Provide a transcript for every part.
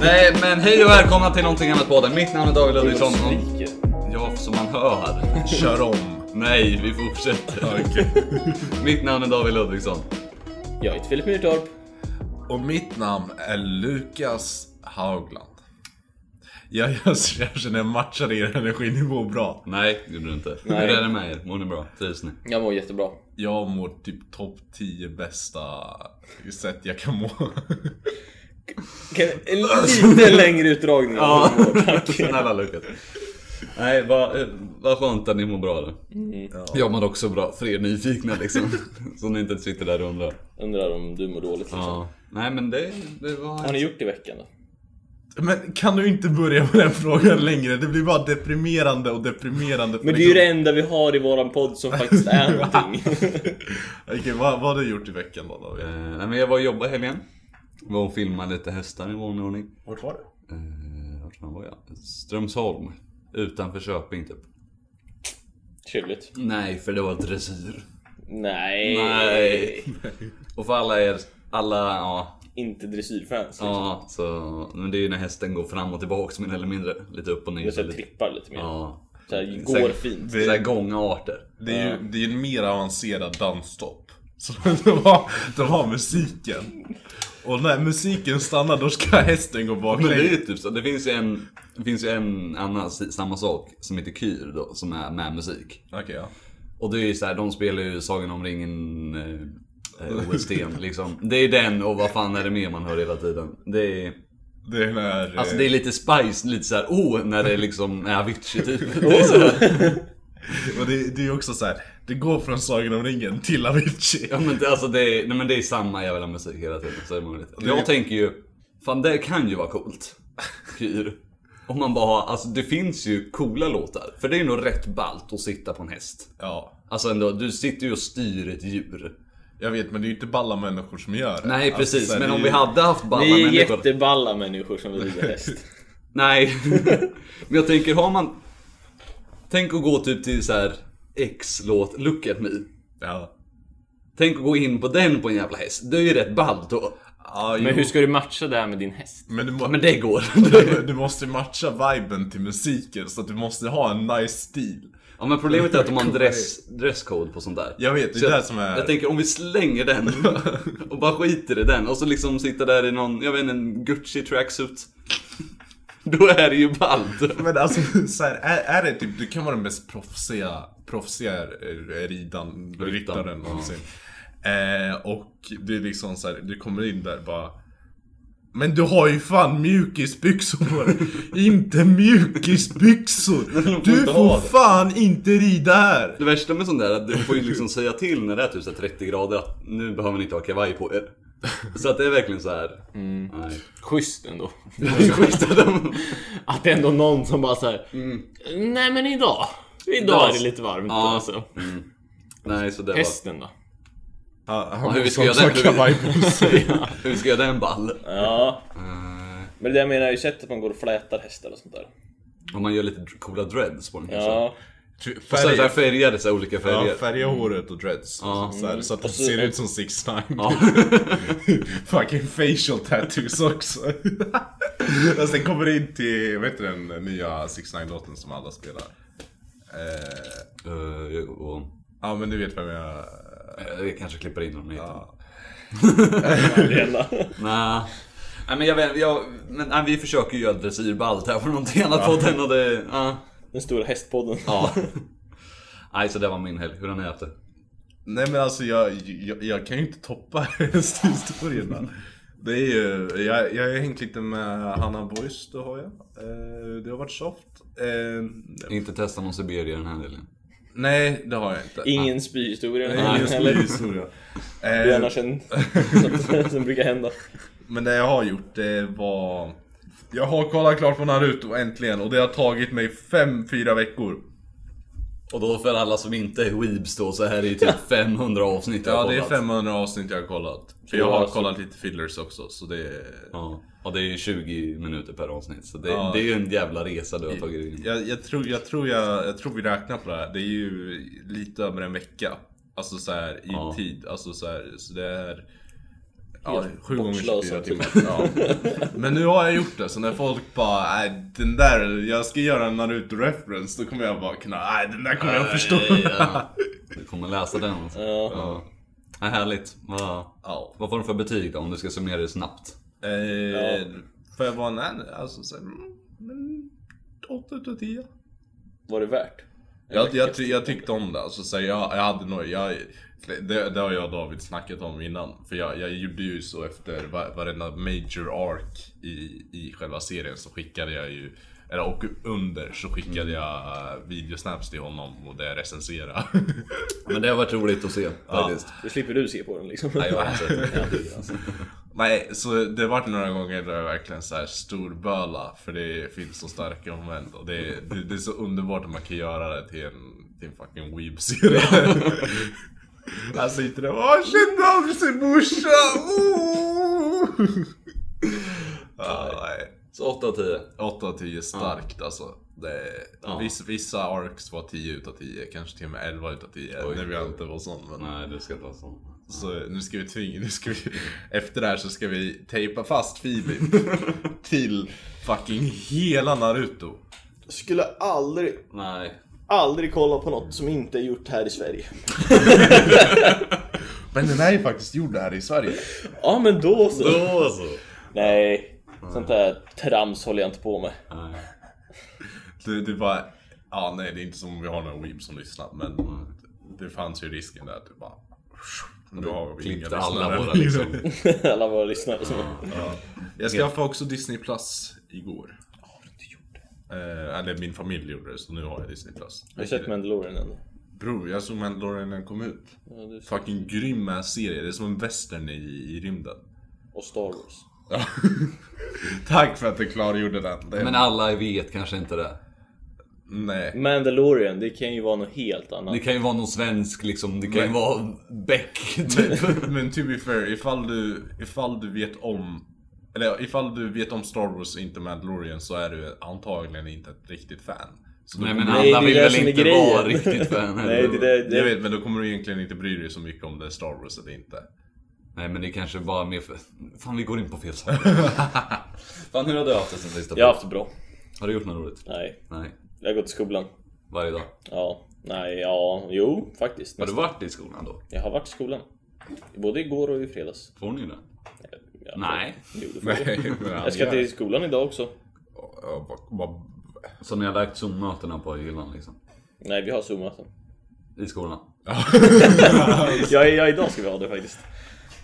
Nej, men hej och välkomna till någonting annat podden. Mitt namn är David Ludvigsson. och- Skriker. Ja, som man hör. Kör om. Nej, vi fortsätter. Mitt namn är David Ludvigsson. Jag heter Filip Myrtorp. Och mitt namn är Lukas Haugland. Jag, jag, jag känner jag matchar er energinivå bra. Nej, gjorde du inte. Nej. Hur är det med er? Mår ni bra? Trivs ni? Jag mår jättebra. Jag mår typ topp 10 bästa sätt jag kan må. Kan, en lite längre utdragning. Ja. av hur du mår, tack. Snälla Lukas. Nej, vad eh, vad skönt att ni mår bra då. Jag mår också bra, för er nyfikna liksom. Så ni inte sitter där och undrar. Undrar om du mår dåligt liksom. Ja. Nej men det, det var... Har ni gjort i veckan då? Men kan du inte börja med den frågan längre? Det blir bara deprimerande och deprimerande. Men det är ju det enda vi har i våran podd som faktiskt är någonting. Okej, vad, vad har du gjort i veckan då? David? Eh, nej men jag var och jobbade i helgen. Var och filmade lite hästar i vanlig ordning. Vart var du? Eh, vart fan var jag? Strömsholm. Utanför Köping typ. Trevligt. Nej, för det var dressyr. Nej. Nej. Och för alla er, alla, ja, Inte dressyrfans. Ja. ja så, men det är ju när hästen går fram och tillbaks mer eller mindre. Lite upp och ner. Jag så här lite, trippar lite mer. ja. Så här, Så här- går fint. Så här gångarter. Det är ju det är en mer avancerad dansstopp. Så de har, de har musiken. Och när musiken stannar då ska hästen gå Men det är baklänges. ju typ så, det finns ju en, det finns ju en annan, si- samma sak, som heter Kyr då, som är med musik. Okej ja. Och det är ju så här, de spelar ju Sagan om ringen eh, eh, OST liksom. Det är den och vad fan är det mer man hör hela tiden. Det är... Det är när... Alltså eh, det är lite spice, lite såhär oh, när det liksom är Avicii typ. Oh. Det är så här, eh, och det, det är ju också så här. det går från Sagan om ringen till Avicii. ja, men, det, alltså, det, är, nej, men det är samma jävla musik hela tiden, så är det möjligt. Jag tänker ju, fan det kan ju vara coolt. Kyr. Om man bara har, alltså det finns ju coola låtar. För det är ju nog rätt ballt att sitta på en häst. Ja. Alltså ändå, du sitter ju och styr ett djur. Jag vet men det är ju inte balla människor som gör det. Nej Alltså, precis, så här, men det är om vi ju- hade haft balla Ni är människor. jätteballa människor som rider häst. Nej. Men jag tänker, har man... Tänk att gå typ till så här X-låt, Look at me. Ja. Tänk att gå in på den på en jävla häst. Det är ju rätt ballt då. Ja, jo. Men hur ska du matcha det här med din häst? men, du, må- Men det går. du måste matcha viben till musiken så att du måste ha en nice stil. Ja men problemet är att de har en dress, dresscode på sånt där. Jag vet, det är Så det som är- Jag tänker om vi slänger den och bara skiter i den och så liksom sitter där i någon, jag vet inte, en Gucci tracksuit. Då är det ju ballt. Men alltså så här, är, är det typ, du kan vara den mest proffsiga, proffsiga eh, ridan, ryttaren någonsin. Eh, och det är liksom så här, du kommer in där bara Men du har ju fan mjukisbyxor på dig! Inte mjukisbyxor! får Du inte ha får det. fan inte rida här! Det värsta med sånt där är att du får ju liksom säga till när det är typ så här 30 grader att nu behöver ni inte ha kavaj på er. Så att det är verkligen så här. Nej. Schysst ändå. Mm. Skita dem. Att det är ändå någon som bara såhär... Mm. Nej men idag. Idag är det lite varmt Ja. alltså. Nej så det var... Hästen då? Ja, Ja, han hur vi ska som göra sa den? kavaj på sig. Hur ska jag göra den ball? Ja. Men det jag menar är ju sättet man går och flätar hästar och sånt där. Om man gör lite coola dreads på den kanske. Ja. Ja. Och så är det så här Färga, färgade, så här olika ja, färger. färga håret och dreads Ja. så, här, så att det Mm. ser ut som 6 9 Ja. Fucking facial tattoos också. Och sen kommer det in till, vad heter den nya 6 9 låten som alla spelar? Eh, Eh, och, ja men du vet vem jag... eh, jag kanske klipper in dem ja. Arena. Nej. Nej men jag vet, jag, men, nej, vi försöker ju göra dressyrballt här för någonting annat podden och det, ja. Den stora hästpodden. ja. Nej så det var min helg, hur har ni haft det? Nej men alltså jag, jag, jag kan ju inte toppa hästhistorierna. Det är ju, jag, jag har hängt lite med Hanna Boys, det har jag. Eh, det har varit soft. Eh, Inte testa någon Siberia den här helgen. nej det har jag inte. Ingen spyhistoria. Nej, just Eller- myshistoria. Det är Eh, annars en sånt som brukar hända. Men det jag har gjort det var... Jag har kollat klart på Naruto äntligen och det har tagit mig 5-4 veckor. Och då för alla som inte är weebs då så här är ju typ 500 avsnitt jag har Ja det är kollat. 500 avsnitt jag har kollat. För jag har kollat lite fillers också så det... Ja. Och det är ju 20 minuter per avsnitt så det, Ja. det är ju en jävla resa du har tagit in. Jag, jag, tror, jag, tror jag, jag tror vi räknar på det här. Det är ju lite över en vecka. Alltså så här i Ja. tid. Alltså så här, så det är... Ja, sju gånger bortslösad 24 timmar. Ja. Men nu har jag gjort det, så när folk bara nej den där, jag ska göra en Naruto-reference, då kommer jag bara kunna, nej den där kommer jag förstå. Ja. Du kommer läsa den alltså. Ja. Ja, härligt. Vad, Ja. vad får den för betyg då om du ska summera det snabbt? Eh, Får jag vara en an- alltså så här, mm, men 8 utav 10. Var det värt? Jag, jag, ty- jag tyckte om det, alltså, så här, jag, jag hade nog, jag, det, det har jag och David snackat om innan. För jag, jag gjorde ju så efter va- varenda major arc i, i själva serien så skickade jag ju, eller och under så skickade jag eh, videosnaps till honom och det jag recenserade. Men det har varit roligt att se faktiskt. Då slipper du se på den liksom. Nej, jag har inte sett det. Nej, så det vart några gånger där jag verkligen så här storböla för det finns så starka moment och det, det, det är så underbart att man kan göra det till en, till en fucking weeb-serie. Han sitter där och bara kände av sig morsan! Oh! Ja, nej. Så 8 av 10. 8 av 10 starkt alltså. Det, Ja. vissa, vissa arcs var 10 utav 10, kanske till och med 11 utav 10 Oj. när vi inte var sån. Men... Nej, Mm. det ska inte vara så. Så nu ska vi tvinga, nu ska vi, efter det här så ska vi tejpa fast Phoebe till fucking hela Naruto. Skulle aldrig, Nej. aldrig kolla på något som inte är gjort här i Sverige. Men den är ju faktiskt gjord här i Sverige. Ja men då så. Då så. Nej, sånt där trams håller jag inte på med. Nej. Det, det var, ja nej det är inte som om vi har någon weeb som lyssnar men Mm. det fanns ju risken där att du bara nu har vi inga Klippte alla lyssnare. våra liksom. Alla våra lyssnare som... Jag skaffade också Disney Plus igår. Eh, eller min familj gjorde det så nu har jag Disney Plus. Har du sett Mandalorian än? Bror, jag såg Mandalorian när den kom ut. Fucking grym ass serie, det är som en western i, i rymden. Och Star Wars. Ja. Tack för att du klargjorde den. Det Men alla vet kanske inte det. Nej. Mandalorian, det kan ju vara något helt annat. Det kan ju vara någon svensk liksom. Det kan ju Men- vara Beck Mm. typ. Men to be fair, ifall du, ifall du vet om... Eller ifall du vet om Star Wars och inte Mandalorian så är du antagligen inte ett riktigt fan. Så då Nej men kommer- Nej, det alla är vill det väl som är inte grejen. vara riktigt fan Nej, det, där- Jag det, vet, men då kommer du egentligen inte bry dig så mycket om det är Star Wars eller inte. Nej men det kanske bara mer för... Fan vi går in på fel sak. Fan hur har du haft det sen sista? jag har haft det bra. Har du gjort något roligt? Nej, Nej. jag har gått i skolan. Varje dag? Ja, nej, ja, jo, faktiskt. Har du varit i skolan då? Jag har varit i skolan. Både igår och i fredags. Får ni det? Ja, Nej. Jo, det får jag. Nej, men Jag ska till skolan idag också. Ja, vad- vad- Så ni har lagt Zoom-mötena på hyllan liksom? Nej, vi har Zoom-möten. I skolan? Ja, ja, idag ska vi ha det faktiskt.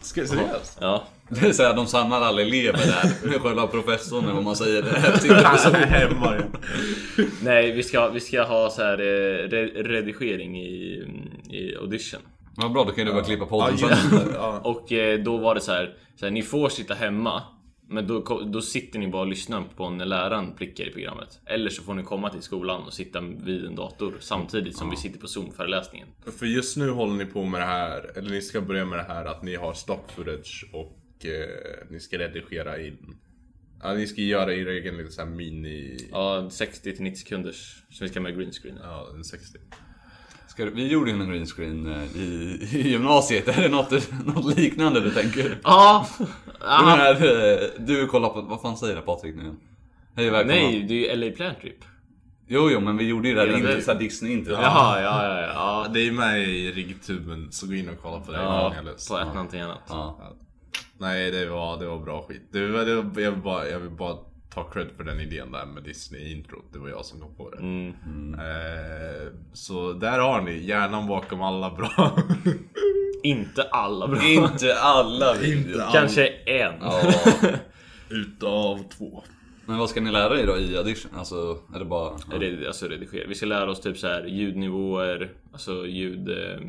Ska seriöst? Ja. Det vill säga de samlar alla elever där med själva professorn eller vad man säger. Sitter på Zoom. Hemma ja. Nej, vi ska, vi ska ha så här eh, re, redigering i, i audition. Vad bra, då kan du bara klippa Ja, podden sen. just det, ja. Och eh, då var det så här, så här ni får sitta hemma. Men då, ko- då sitter ni bara och lyssnar på när läraren prickar i programmet. Eller så får ni komma till skolan och sitta vid en dator samtidigt som vi sitter på Zoom-föreläsningen. För just nu håller ni på med det här, eller ni ska börja med det här att ni har stock footage och eh, ni ska redigera in. Ja, ni ska göra er egen liten sån här mini... Ja, 60 till 90 sekunders som vi ska med green screen. Ja, en 60. Ska du, vi gjorde ju en green screen eh, i, i gymnasiet. Är det något, du- något liknande du tänker? Ja! Jag Ah, menar, eh, du kollar på... Vad fan säger det Patrik nu igen? Hej välkomna. nej, det är ju LA Plant Trip. Jo, jo, men vi gjorde ju det där. Ja, inte det- så här Disney inte. Jaha, ja, ja, ja. Ja, det är med i riggtuben, så gå in och kolla på det ja. ifall ni har lust. på ett någonting annat. Ja. Nej, det var, det var bra skit. Det var, det var, jag, vill bara, jag vill bara ta cred för den idén där med Disney-introt. Det var jag som kom på det. Mm. Eh, så där har ni hjärnan bakom alla bra. Inte alla bra. Inte alla videor. Kanske en. Ja. Utav två. Men vad ska ni lära er då i audition? Alltså, är det bara... Red- Alltså redigera. Vi ska lära oss typ så här ljudnivåer, alltså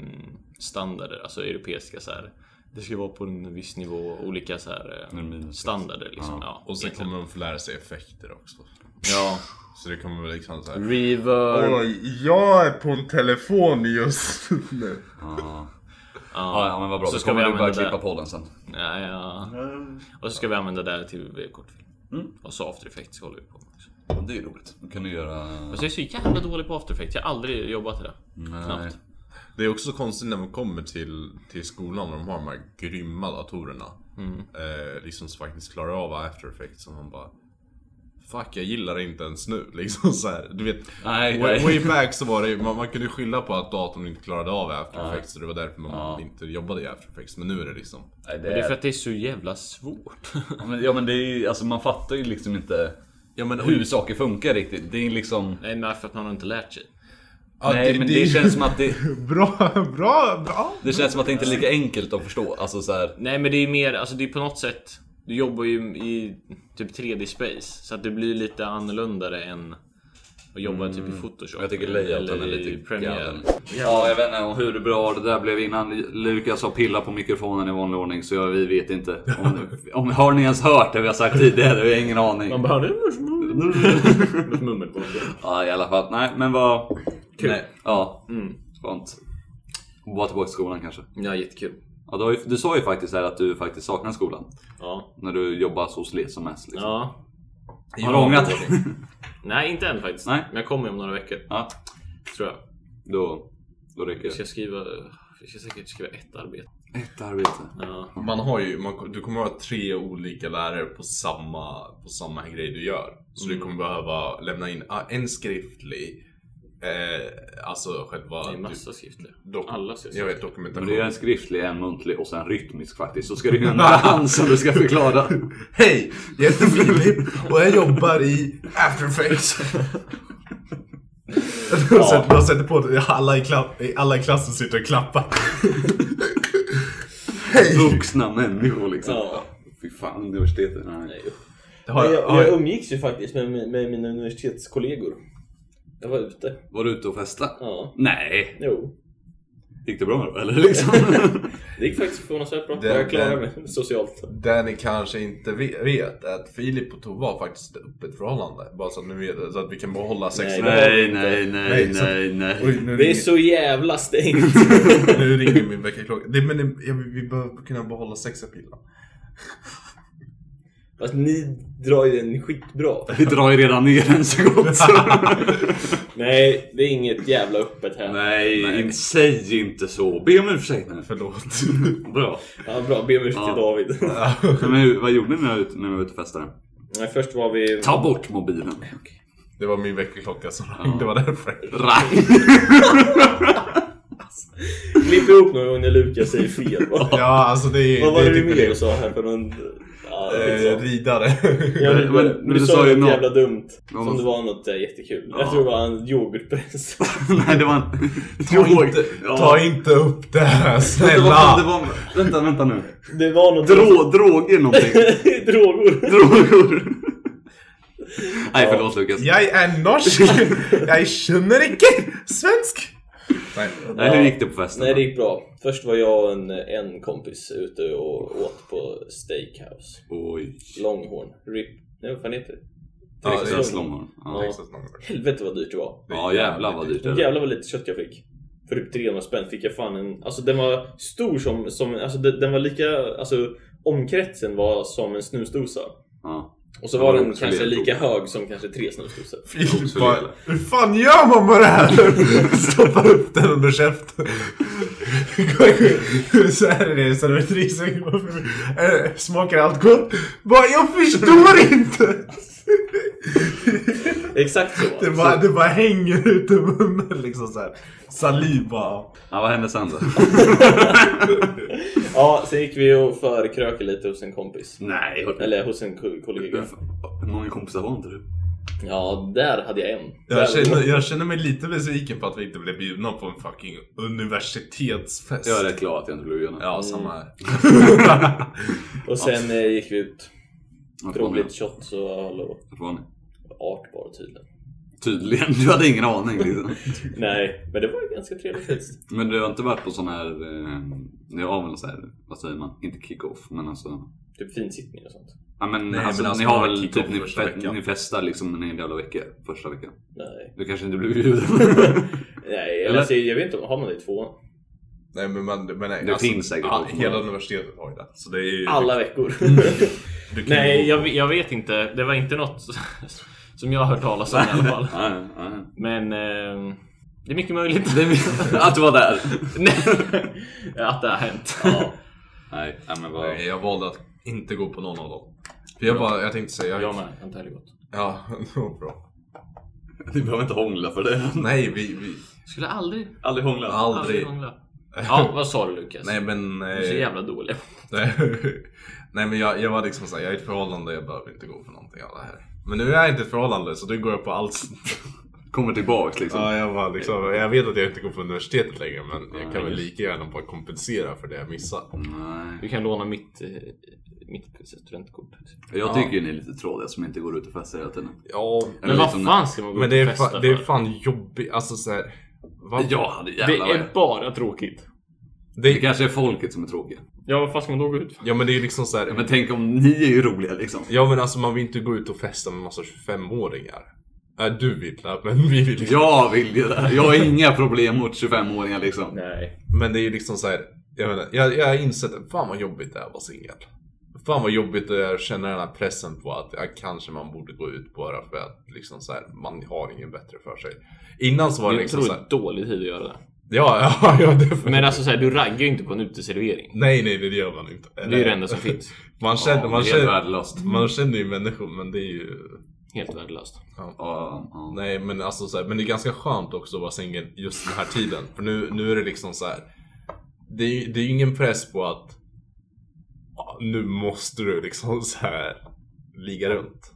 ljudstandarder, alltså europeiska så här. Det ska vara på en viss nivå, olika så här eh, En minus. standarder liksom. Ja. Och sen kommer de få lära sig effekter också. ja. Så det kommer väl liksom såhär... Reverb. jag är på en telefon just nu. Ja, ja, men vad bra. Så Så ska ska vi vi du börja använda det. klippa podden sen. Ja, ja. Och så ska vi använda det här till kortfilm. Mm. Och så after effects håller vi på med också. Ja, Det är ju roligt. Då kan du göra... Alltså jag är så jävla dålig på after effects, jag har aldrig jobbat i det. Nej. Knappt. Det är också konstigt när man kommer till, till skolan och de har de här grymma datorerna. Eh, liksom som faktiskt klarar av after effects. Och man bara... Fuck, jag gillar det inte ens nu. Liksom så här. Du vet, Nej, way, nej. way back så var det man, man kunde skylla på att datorn inte klarade av after effects. Och det var därför man inte jobbade i after effects. Men nu är det liksom... Nej, Det är för att det är så jävla svårt. Ja, men- Ja men det är ju, alltså man fattar ju liksom inte Ja, men, hur saker funkar riktigt. Det är liksom... Nej men för att man har inte lärt sig. ja, nej men det, är ju- känns som att det, Bra, bra, bra. det känns som att det inte är lika enkelt att förstå. Alltså så här, Nej men det är mer, alltså det är på något sätt Du jobbar ju i typ 3D space Så att det blir lite annorlunda än att jobba typ i photoshop Mm. jag tycker layouten är eller i lite Premiere galen. Ja, jag vet inte hur bra det där blev innan Lukas har pillat på mikrofonen i vanlig ordning så jag, vi vet inte. Om, om, har ni ens hört det vi har sagt tidigare? Vi har ingen aning. Man bara... Mummel på Ja, i alla fall. Nej, men vad... Kul. Nej, ja, Mm. skönt. Vara tillbaka till skolan kanske. Ja jättekul Ja, du, har ju, du sa ju faktiskt här att du faktiskt saknar skolan. Ja, När du jobbar så slet som mest. Liksom. ja. Har du ångrat dig? Nej inte än faktiskt Nej. Men jag kommer om några veckor Ja, tror jag då, då räcker Jag ska det. skriva jag ska säkert skriva ett arbete. Ett arbete. Ja. Man har ju, man, du kommer ha tre olika lärare på samma, på samma grej du gör. Så Mm. du kommer behöva lämna in ah, en skriftlig, eh, alltså själva Det är massa skriftliga. du- dok- Alla ska jag skriva. vet, Men dokumentation. det är en skriftlig, en muntlig och sen rytmisk faktiskt. Så ska du ju en dans som du ska förklara. Hej! Jag heter Filip och jag jobbar i After Effects. De sätter- De sätter på det, alla i, klapp, alla i klassen sitter och klappar. Vuxna människor liksom. Ja. Fy fan, universitetet. Nej. Har, jag, har- jag umgicks ju faktiskt med, mi- med mina universitetskollegor. Jag var ute. Var du ute och festa? Ja. Nej. Jo. Gick det bra då eller liksom? Det gick faktiskt förvånansvärt bra. Det- jag klarade det- mig socialt. Det ni kanske inte ve- vet är att Filip och Tove har faktiskt ett öppet förhållande. Bara så att ni vet, så att vi kan behålla sexen. nej, nej, nej, Nej, så- nej, nej. Oj, nu, Det är ringer, så jävla stängt. nu ringer min väckarklocka. Det- Men det- jag- vi behöver kunna behålla sexapillen. Fast ni drar ju den skitbra. Vi drar ju redan ner den så gott så. Nej, det är inget jävla öppet här. Nej, inte- säg inte så. Be om ursäkt nu. Förlåt. Bra. Ja, bra, be om ursäkt Ja. till David. Men hur- vad gjorde ni när, ut- när ni var ute och festade? Nej, först var vi... Ta bort mobilen. Det var min väckarklocka som ringde. Det var därför. Rang. Klipp ihop någon gång när Lukas säger fel. va? Ja, alltså det är... Vad var det är du typ mer sa här för någon... Ja, Eh, skitsamma. ridare. Ja, men- men, men men du sa ju något jävla dumt. Ja, Som men- det var något eh, jättekul. Ja. Jag tror det var en yoghurtpress. Nej, det var en... Ta inte, Ja. ta inte upp det här, Vänta, vad fan det snälla! var... Vänta, vänta nu. Det var något... Drå, droger någonting. Droger. Droger. Nej, förlåt Lukas. Jag är norsk! Jag känner inte svensk! Nej. Nej, hur gick det på festen? Nej, det gick bra. Först var jag och en, en kompis ute och åt på Steakhouse. Oj. Longhorn. RIP. Nej, vad fan heter det? Ja, Texas Texas Longhorn. Longhorn. Ja. Ja. Texas Longhorn. Helvete vad dyrt det var. ja, jävlar vad dyrt det är. Jävlar vad lite kött jag fick. För typ 300 spänn fick jag fan en... Alltså den var stor som... som alltså den, den var lika... Alltså omkretsen var som en snusdosa. Ja. Och så Ja, var det den var också kanske lite lika prov. hög som kanske tre snusdosor. Filip Också bara, rejäla. hur fan gör man med det här? Stoppar upp den under käften. Så här är det, servitrisen går förbi. Eh, Smakar allt gott? Bara, jag förstår inte! Exakt så. Det bara, det bara hänger ut ur munnen liksom så här. Saliv bara. ja, vad hände sen då? Ja, sen gick vi och förkrökade lite hos en kompis. Nej, hörru. Eller hos en ko- kollega. Hur många kompisar var inte du? Ja, där hade jag en. Där- Jag känner, jag känner mig lite besviken på att vi inte blev bjudna på en fucking universitetsfest. Jag är rätt glad att jag inte blev bjuden. Ja, samma här. Och sen eh, gick vi ut. Vart var Drog ni? lite shots och öl och Vart var ni? art bara tydligen. Tydligen, du hade ingen aning liksom. Nej, men det var ju ganska trevligt faktiskt. Men du har inte varit på sån här, eh, ja väl så här, vad säger man, inte kick-off men alltså. Typ finsittning och sånt. Ja men, Nej, alltså, men alltså, ni har man väl kick-off typ, ni, första fe- veckan. ni festar liksom en hel jävla vecka, första veckan. Nej. Du kanske inte blev bjuden. Nej, Eller? eller? Alltså, jag vet inte. Har man det i tvåan? Nej men, man, men nej, alltså, Det finns säkert ja, något. Hela universitetet har ju det. Så det är ju... Alla veckor. du kan Nej ju- jag, jag vet inte. Det var inte något som jag har hört talas om i alla fall. ja, ja. Men... Eh, ehm, Det är mycket möjligt. Det är min- att du var där. att det har hänt. Ja. Nej, nej, men vad... Nej, jag valde att inte gå på någon av dem. För jag bara, jag tänkte säga... Jag med. Jag tänkte gott. Ja, det var bra. Ni behöver inte hångla för det. Nej, vi... vi Skulle aldrig, Aldrig hångla. aldrig. aldrig hångla. Ja, vad sa du Lukas? Nej men... Du är så Eh, jävla dålig. nej men jag, jag var liksom såhär, jag är i ett förhållande, jag behöver inte gå för någonting av det här. Men nu är jag inte i ett förhållande så nu går jag på allt. Kommer tillbaks liksom. Ja, jag, bara, liksom, jag vet att jag inte går på universitetet längre men jag kan väl lika gärna bara kompensera för det jag missat. Nej. Du kan låna mitt, eh, mitt studentkort. Jag tycker ju ni är lite trådiga som inte går ut och festar hela tiden. Ja, Men vad fan ska man gå men ut och det är, festa fa- det är för? fan jobbigt. Alltså såhär... va? Jag hade Det jävlar vad är jag- bara tråkigt. Det Det är, kanske är folket som är tråkiga. Ja, vad fan ska man då gå ut för? ja men det är liksom såhär... Men tänk om ni är ju roliga liksom. Ja men alltså man vill inte gå ut och festa med massa 25-åringar. Nej du vill det, men vi vill inte. Jag vill ju det. Jag har inga problem mot 25-åringar liksom. Nej. Men det är ju liksom så här. Jag, menar, jag, jag har insett att fan vad jobbigt det är att vara singel. Fan vad jobbigt det är att känna den här pressen på att ja, kanske man borde gå ut bara för att liksom så här, man har ingen bättre för sig. Innan så var Det det är liksom såhär. otroligt dålig tid att göra det. Ja, ja, ja det Men alltså så här, du raggar ju inte på en uteservering. Nej, nej, det gör man inte. Det är ju det enda som finns. Man känner, Ja, man, det är helt känner, Mm. värdelöst. man känner ju människor, men det är ju... Helt värdelöst. Ja, ja. Nej men alltså så här, men det är ganska skönt också att vara singel just den här tiden. För nu, nu är det liksom så här. Det är, ju- det är ju ingen press på att ja, nu måste du liksom så här ligga runt.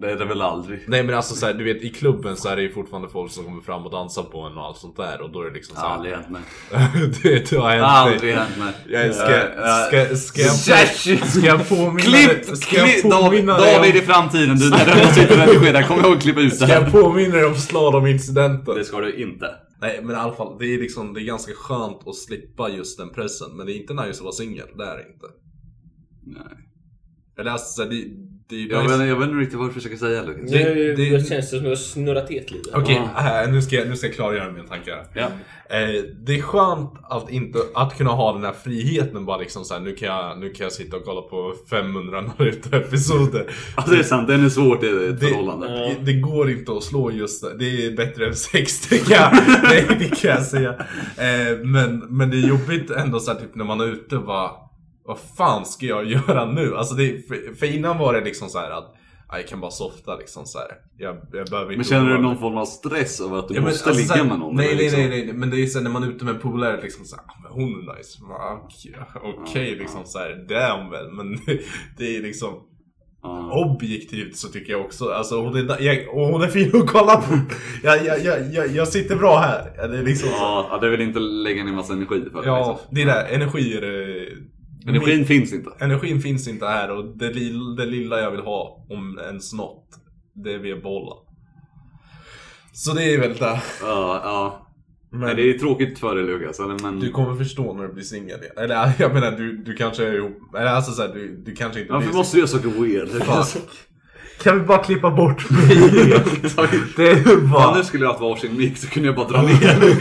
Det är det väl aldrig. Nej men alltså så här, du vet i klubben så här är det ju fortfarande folk som kommer fram och dansar på en och allt sånt där och då är det liksom så här. Aldrig hänt mig. det, det har hänt Aldrig mig. hänt mig. Jag ska, Eh, eh, ska, ska, jag, Yes! ska jag påminna Klipp! dig- Ska klipp jag David, påminna dig David i om, framtiden, du när du sitter och redigerar, kom ihåg att klippa ut det ska jag här. påminna dig om slalomincidenten? Det ska du inte. Nej men i alla fall, det är, liksom, det är ganska skönt att slippa just den pressen. Men det är inte nice att vara singel, det är det inte. Nej. Eller alltså, så här, det, det är ju Jag nice. vet, jag vet inte riktigt vad du försöker säga Lukas. Det- Nu det- det känns det som att jag har snurrat helt lite. Okej, äh, nu, ska jag, nu ska jag klargöra mina tankar. här. Ja. Eh, det är skönt att, inte, att kunna ha den här friheten bara liksom så här, nu kan jag, nu kan jag sitta och kolla på 500 Naruto-episoder. Ja, Alltså, det är sant, den är svårt i ett Det, förhållande. det, det går inte att slå just det. Det är bättre än sex, det kan, jag- det, det kan jag säga. Eh, men, men det är jobbigt ändå så här, typ när man är ute, vad, vad fan ska jag göra nu? Alltså det, för, för innan var det liksom så här att ja, jag kan bara softa liksom så här. Jag, jag behöver inte Men känner du oroa mig. någon form av stress över att du Ja, men måste alltså så ligga här, med någon? Nej, eller nej, liksom? nej, nej, men det är sen när man är ute med polare liksom såhär, ah, men hon är nice. Va, Okej, okej, liksom såhär, det är hon väl. Men det är liksom, Ja. objektivt så tycker jag också, alltså hon är, jag, och hon är fin att kolla på. Jag, jag, jag, jag, jag sitter bra här. Ja, Det är liksom så. Ja, det vill inte lägga ner massa energi för det, Ja, liksom. det är det. Energi är det. Energin finns inte. Energin finns inte här och det, li- det lilla jag vill ha, om ens något, det är vedbollar. Så det är väl det. Ja, ja. Nej, Men det är tråkigt för dig Lukas, eller men... du kommer förstå när du blir singel igen. Eller jag menar, du, du kanske är ihop, eller alltså såhär, du, du kanske inte Varför blir måste du göra saker weird? singel. Fuck. Kan vi bara klippa bort mig? det är Fan, nu bara... skulle jag haft varsin mick så kunde jag bara dra ner.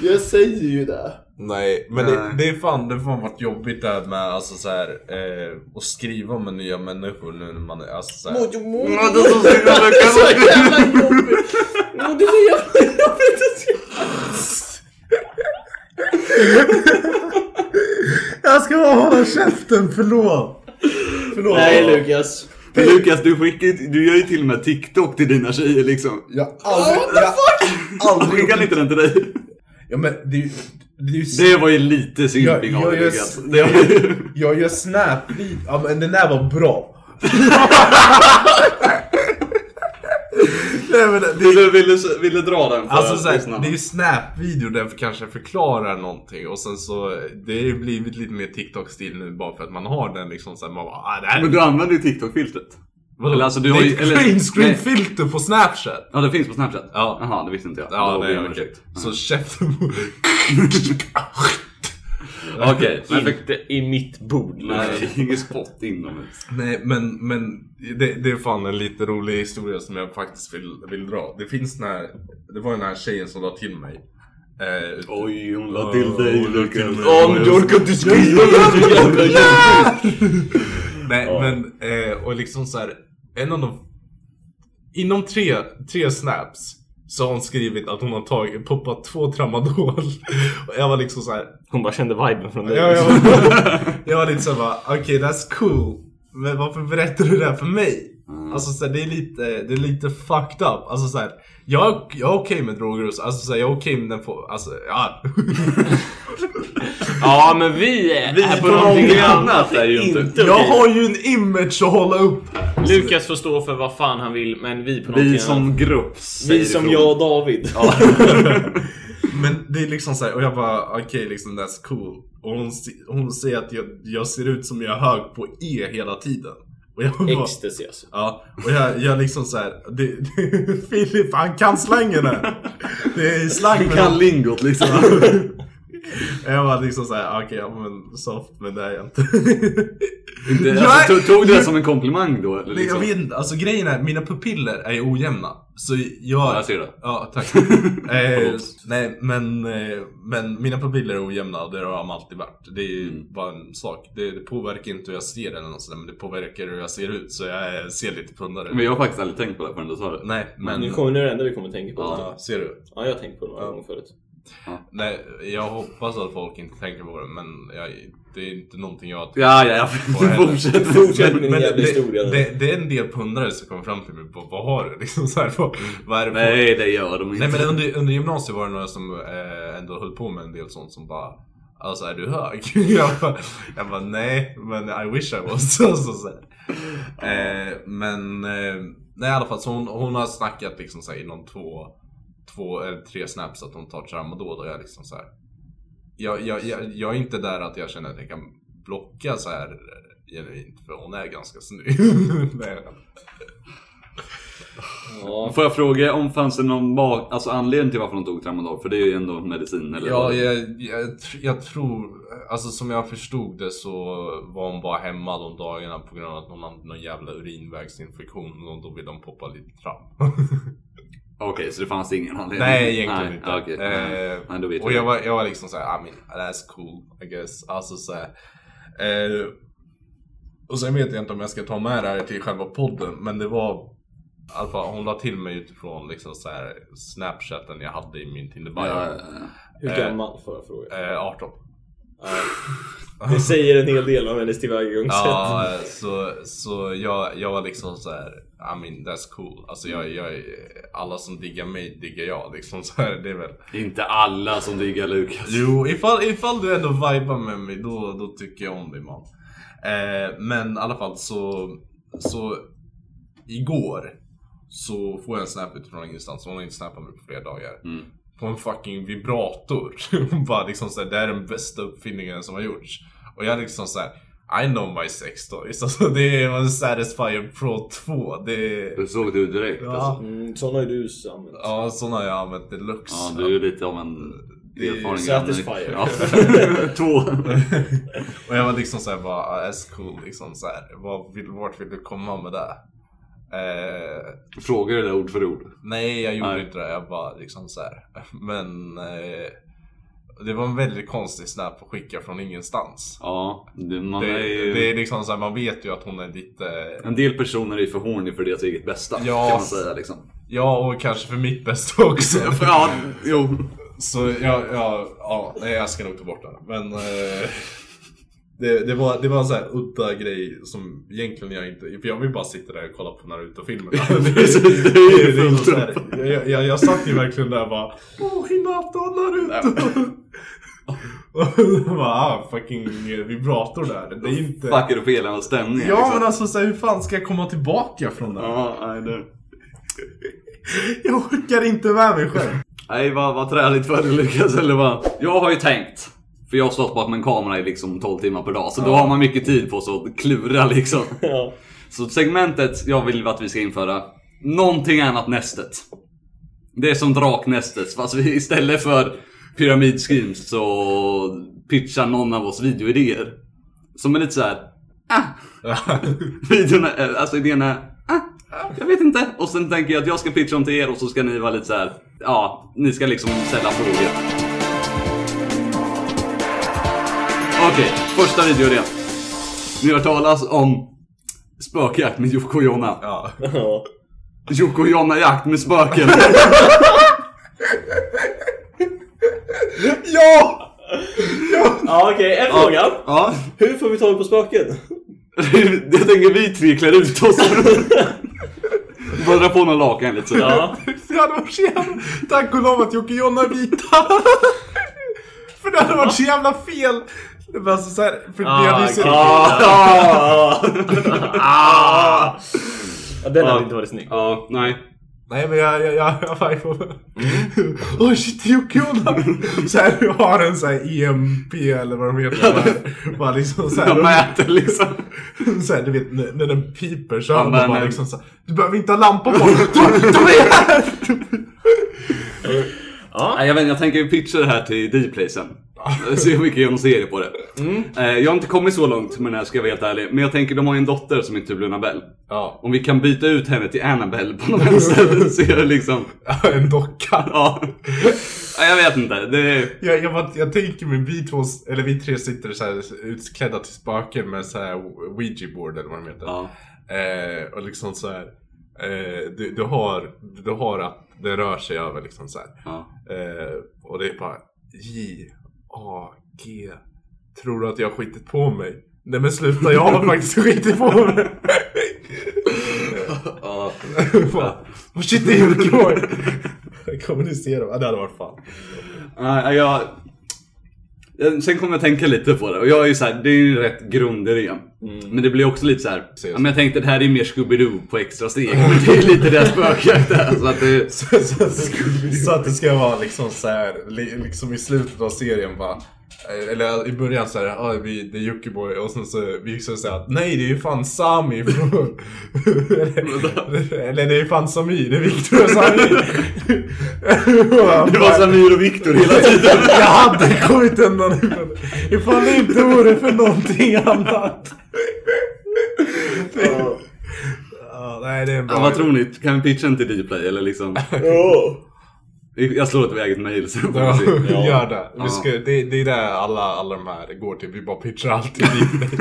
Jag säger ju det. Nej, men Det, Nej. det är fan, det har fan varit jobbigt det här med alltså så här, eh, att skriva med nya människor nu när man är alltså så här. Mojo mojo. Ja, det är så synd att Lukas- Så jävla jobbigt. Jo, det är så jävla jobbigt. Jag ska bara hålla käften, förlåt! Förlåt! Nej Lukas. Men Lukas, du, skickar, ju- du gör ju till och med TikTok till dina tjejer liksom. Jag har aldrig... Jag, Jag skickar inte den till dig. ja men det är ju... Det är ju Det var ju lite jag, simping av jag, dig jag, Lukas. Det var jag, ju... jag gör snap Ja men den där var bra. Nej, men det, Ville, ville, ville dra den för Alltså såhär, lyssnarna. det är ju Snap-video där vi kanske förklarar någonting och sen så Det har ju blivit lite mer TikTok-stil nu bara för att man har den liksom såhär man bara ah, det här Men är... du använder ju TikTok-filtret. Vadå? eller alltså, du har det är ju- ett eller- green screen nej. filter på Snapchat! Ja, det finns på Snapchat? Ja. Jaha, det visste inte jag. Ja, Då ber nej jag om okej. ursäkt. Så käften Okej, men för- Inte i mitt bord. Nej, ingen spott inomhus. Nej men, men det, det är fan en lite rolig historia som jag faktiskt vill, vill dra. Det finns den här, det var den här tjejen som la till mig. Eh, Oj, hon la till dig, Lukas. Om du orkar inte skriva Nej men, eh, och liksom så här, en av de... Inom tre, tre snaps så har hon skrivit att hon har tagit, poppat två tramadol. Och jag var liksom så här. Hon bara kände viben från dig. Jag, jag, var, jag var lite så här bara, okej that's cool. Men varför berättar du det här för mig? Alltså så här, det, är lite, det är lite fucked up. Alltså så här, jag, jag är okej med droger och så, alltså, så här, jag är okej med den få, alltså ja. Ja men vi är, Vi är på på någonting någonting annat. annat är ju inte... Jag har ju en image att hålla upp. Lukas får stå för vad fan han vill men vi på någonting Vi som grupp säger Vi som ifrån. jag och David. Men det är liksom så här, och jag bara okej liksom that's cool. Och hon, se- hon säger att jag, jag ser ut som jag är hög på E hela tiden. Och jag bara, Ecstasy alltså. Ja, och jag, jag liksom såhär, Filip han kan slangen här. Det är slang men Kan lingot liksom. Jag var liksom såhär, okej ja, men soft men det är jag inte. Inte- Jag alltså, är- tog, tog du det som en komplimang då? Eller Nej, jag liksom? vet inte, alltså grejen är, mina pupiller är ju ojämna. Så jag... Ja, jag ser det. Ja, tack. eh, nej, men, eh, men mina pupiller är ojämna och det har de alltid varit. Det är ju Mm. bara en sak. Det, det påverkar inte hur jag ser eller något sådär, men det påverkar hur jag ser ut. Så jag ser lite pundare ut. Men jag har faktiskt aldrig tänkt på det förrän du sa det. Nej, men... Nu, kommer, nu är det enda vi kommer tänka på. Ja, Ja, ser du? jag har tänkt på det några gånger förut. Nej, jag hoppas att folk inte tänker på det, men jag, det är inte någonting jag... Ja, ja, ja. Fortsätt. Fortsätt med Men din jävla historia det, nu. det, det är en del pundare som kommer fram till mig bara, vad har du? Liksom så här, vad, vad är det för... Nej, det gör de inte. Nej men under, under gymnasiet var det några som eh, ändå höll på med en del sånt som bara Alltså är du hög? jag, bara, jag bara nej men I wish I was. alltså, så här. eh, men eh, nej i alla fall så hon, hon har snackat liksom så här, inom två, två eller tre snaps att hon tar tramadol och jag liksom så här. Jag, jag, jag, jag är inte där att jag känner att jag kan blocka så här genuint för hon är ganska snygg. nej. Ja. Får jag fråga om fanns det någon bak, alltså anledning till varför de tog tramadol? För det är ju ändå medicin eller? Ja, jag, jag, tr- jag tror, alltså som jag förstod det så var hon bara hemma de dagarna på grund av att hon hade någon jävla urinvägsinfektion och då ville de poppa lite tram. Okej, så det fanns ingen anledning? Nej, egentligen Nej, okej. inte. Eh, Nej, då vet och jag. jag var, jag var liksom såhär, I mean, that's cool I guess. Alltså såhär. Eh, och sen vet jag inte om jag ska ta med det här till själva podden, men det var i alla fall, hon la till mig utifrån liksom så här, snapchatten jag hade i min tinder Ja, ja, bio. ja. Hur gammal får jag fråga? eh, 18. Ja. Det säger en hel del om hennes tillvägagångssätt. Ja, så, så jag, jag var liksom så här. I mean that's cool. Alltså jag, jag, alla som diggar mig diggar jag liksom. Så här, det är väl. Inte alla som diggar Lukas. Jo, ifall, ifall du ändå vibar med mig då, då tycker jag om dig man. Eh, men i alla fall så, så igår så får jag en snap utifrån ingenstans. Hon har inte snappat mig på flera dagar. Mm. På en fucking vibrator. Hon bara liksom såhär, det här är den bästa uppfinningen som har gjorts. Och jag liksom såhär, I know my sex toys. Alltså det är en Satisfyer Pro 2. Det är... Det såg du direkt alltså. Mm, sådana har ju du använt. Ja, sådana har jag använt deluxe. Ja, du är ju lite av en erfaren Satisfyer. Ja. Två. Och jag var liksom såhär bara, ah, that's cool liksom såhär. Vad vill, vart vill du komma med det? Eh, Frågar du det ord för ord? nej jag gjorde Nej. inte det, jag bara liksom såhär. Men eh, det var en väldigt konstig snap att skicka från ingenstans. Ja, det, man Det, är ju... det är liksom såhär, man vet ju att hon är eh, lite, En del personer är ju för horny för deras eget bästa. Ja. Kan man säga liksom. ja och kanske för mitt bästa också. Ja, jo. Så jag, ja, ja, nej jag ska nog ta bort den. Men eh, det, det, var, det var en sån här udda grej som egentligen jag inte, för jag vill bara sitta där och kolla på Naruto-filmerna. Precis, det är ju Det är fullt liksom så upp. här, jag, jag, jag satt ju verkligen där och bara Åh, Hinata Naruto! Och bara, ah, fucking vibrator där. Det är inte... Fuckar upp hela hans stämning. Ja liksom. men alltså så här, hur fan ska jag komma tillbaka från det här? Ja, nej, det... Jag orkar inte med mig själv. Nej, vad, vad träligt för dig Lukas. Eller vad? Jag har ju tänkt. För jag har stått bakom en kamera i liksom 12 timmar per dag. Så då har man mycket tid på sig att klura liksom. Ja. Så segmentet jag vill att vi ska införa. Någonting annat nästet. Det är som draknästet. Fast vi istället för Pyramid Schemes så pitchar någon av oss videoidéer. Som är lite så här. videorna, eh, alltså idéerna, ah, jag vet inte. Och sen tänker jag att jag ska pitcha dem till er och så ska ni vara lite så här. ja, ni ska liksom ställa frågor. Okej, första videoidén. Ni har hört talas om spökjakt med Jocke och Jonna. ja. Ja. Jocke och Jonna jakt med spöken. Ja! Ja okej, en fråga. Ja. Hur får vi tag på spöken? Jag tänker vi tre klär ut oss. Bara dra på någon lakan lite sådär. Ja. Det hade varit så jävla... Tack och lov att Jocke och Jonna är vita. För det hade varit så jävla fel. Det var alltså så här, för det hade ju sett... Ah. Ja, den hade inte varit snygg. Ja, nej. Nej men jag, jag, jag, jag var på... Mm. Åh oh, shit, Jocke och Jonna. Så här, du har en så här EMP eller vad de heter. Bara liksom så här, Jag mäter liksom. så här, du vet när, när den piper så har Ja, man men- bara liksom så här, Du behöver inte ha lampa på. De, de är här! Nej, jag, vet, inte, jag tänker pitcha det här till Dplay sen. Se hur mycket de ser på det. Eh, Jag har inte kommit så långt med den här ska jag vara helt ärlig. Men jag tänker de har ju en dotter som heter typ Bell. Ja. Om vi kan byta ut henne till Annabelle på något vänster så är det liksom... En docka. Ja. Nej, Jag vet inte. Det är... Jag, jag, bara- jag tänker mig vi två, eller vi tre sitter så här utklädda till spöken med så här ouija board eller vad de heter. Ja. Eh, och liksom så här. Eh, du, du har, du har att det rör sig över liksom så här. Ja. Eh, och det är bara J, A, G. Tror du att jag har skitit på mig? Nej men sluta, jag har faktiskt skitit på mig. Ja. Fan. Vad shit det är ju Kommunicera, Ja, det hade varit fan. Nej, jag... jag- Sen kommer jag tänka lite på det. Och jag är ju så här, det är ju rätt grunder igen. Men det blir också lite så här. Ja, men jag tänkte det här är mer Scooby-Doo på extra steg. Men det är lite det spöket där. Så att det... Så, så, så att det ska vara liksom så här, li, liksom i slutet av serien bara. Eller i början så här, ah, vi, det är Jockiboi och sen så visar det sig att nej det är ju fan Sami från... eller, eller det är ju fan Sami, det är Viktor och Sami. Det var Samir och Viktor hela tiden. Jag hade kommit undan ifrån det. Ifall det inte vore för någonting annat. Ja, nej det är en bra Ja, vad tror ni? Kan vi pitcha en till Dplay eller liksom? Ja. Jag slår ett väg ett mail sen får Ja, vi se. gör det. Vi ska, det. Det är det alla, alla de här går till. Vi bara pitchar alltid dit.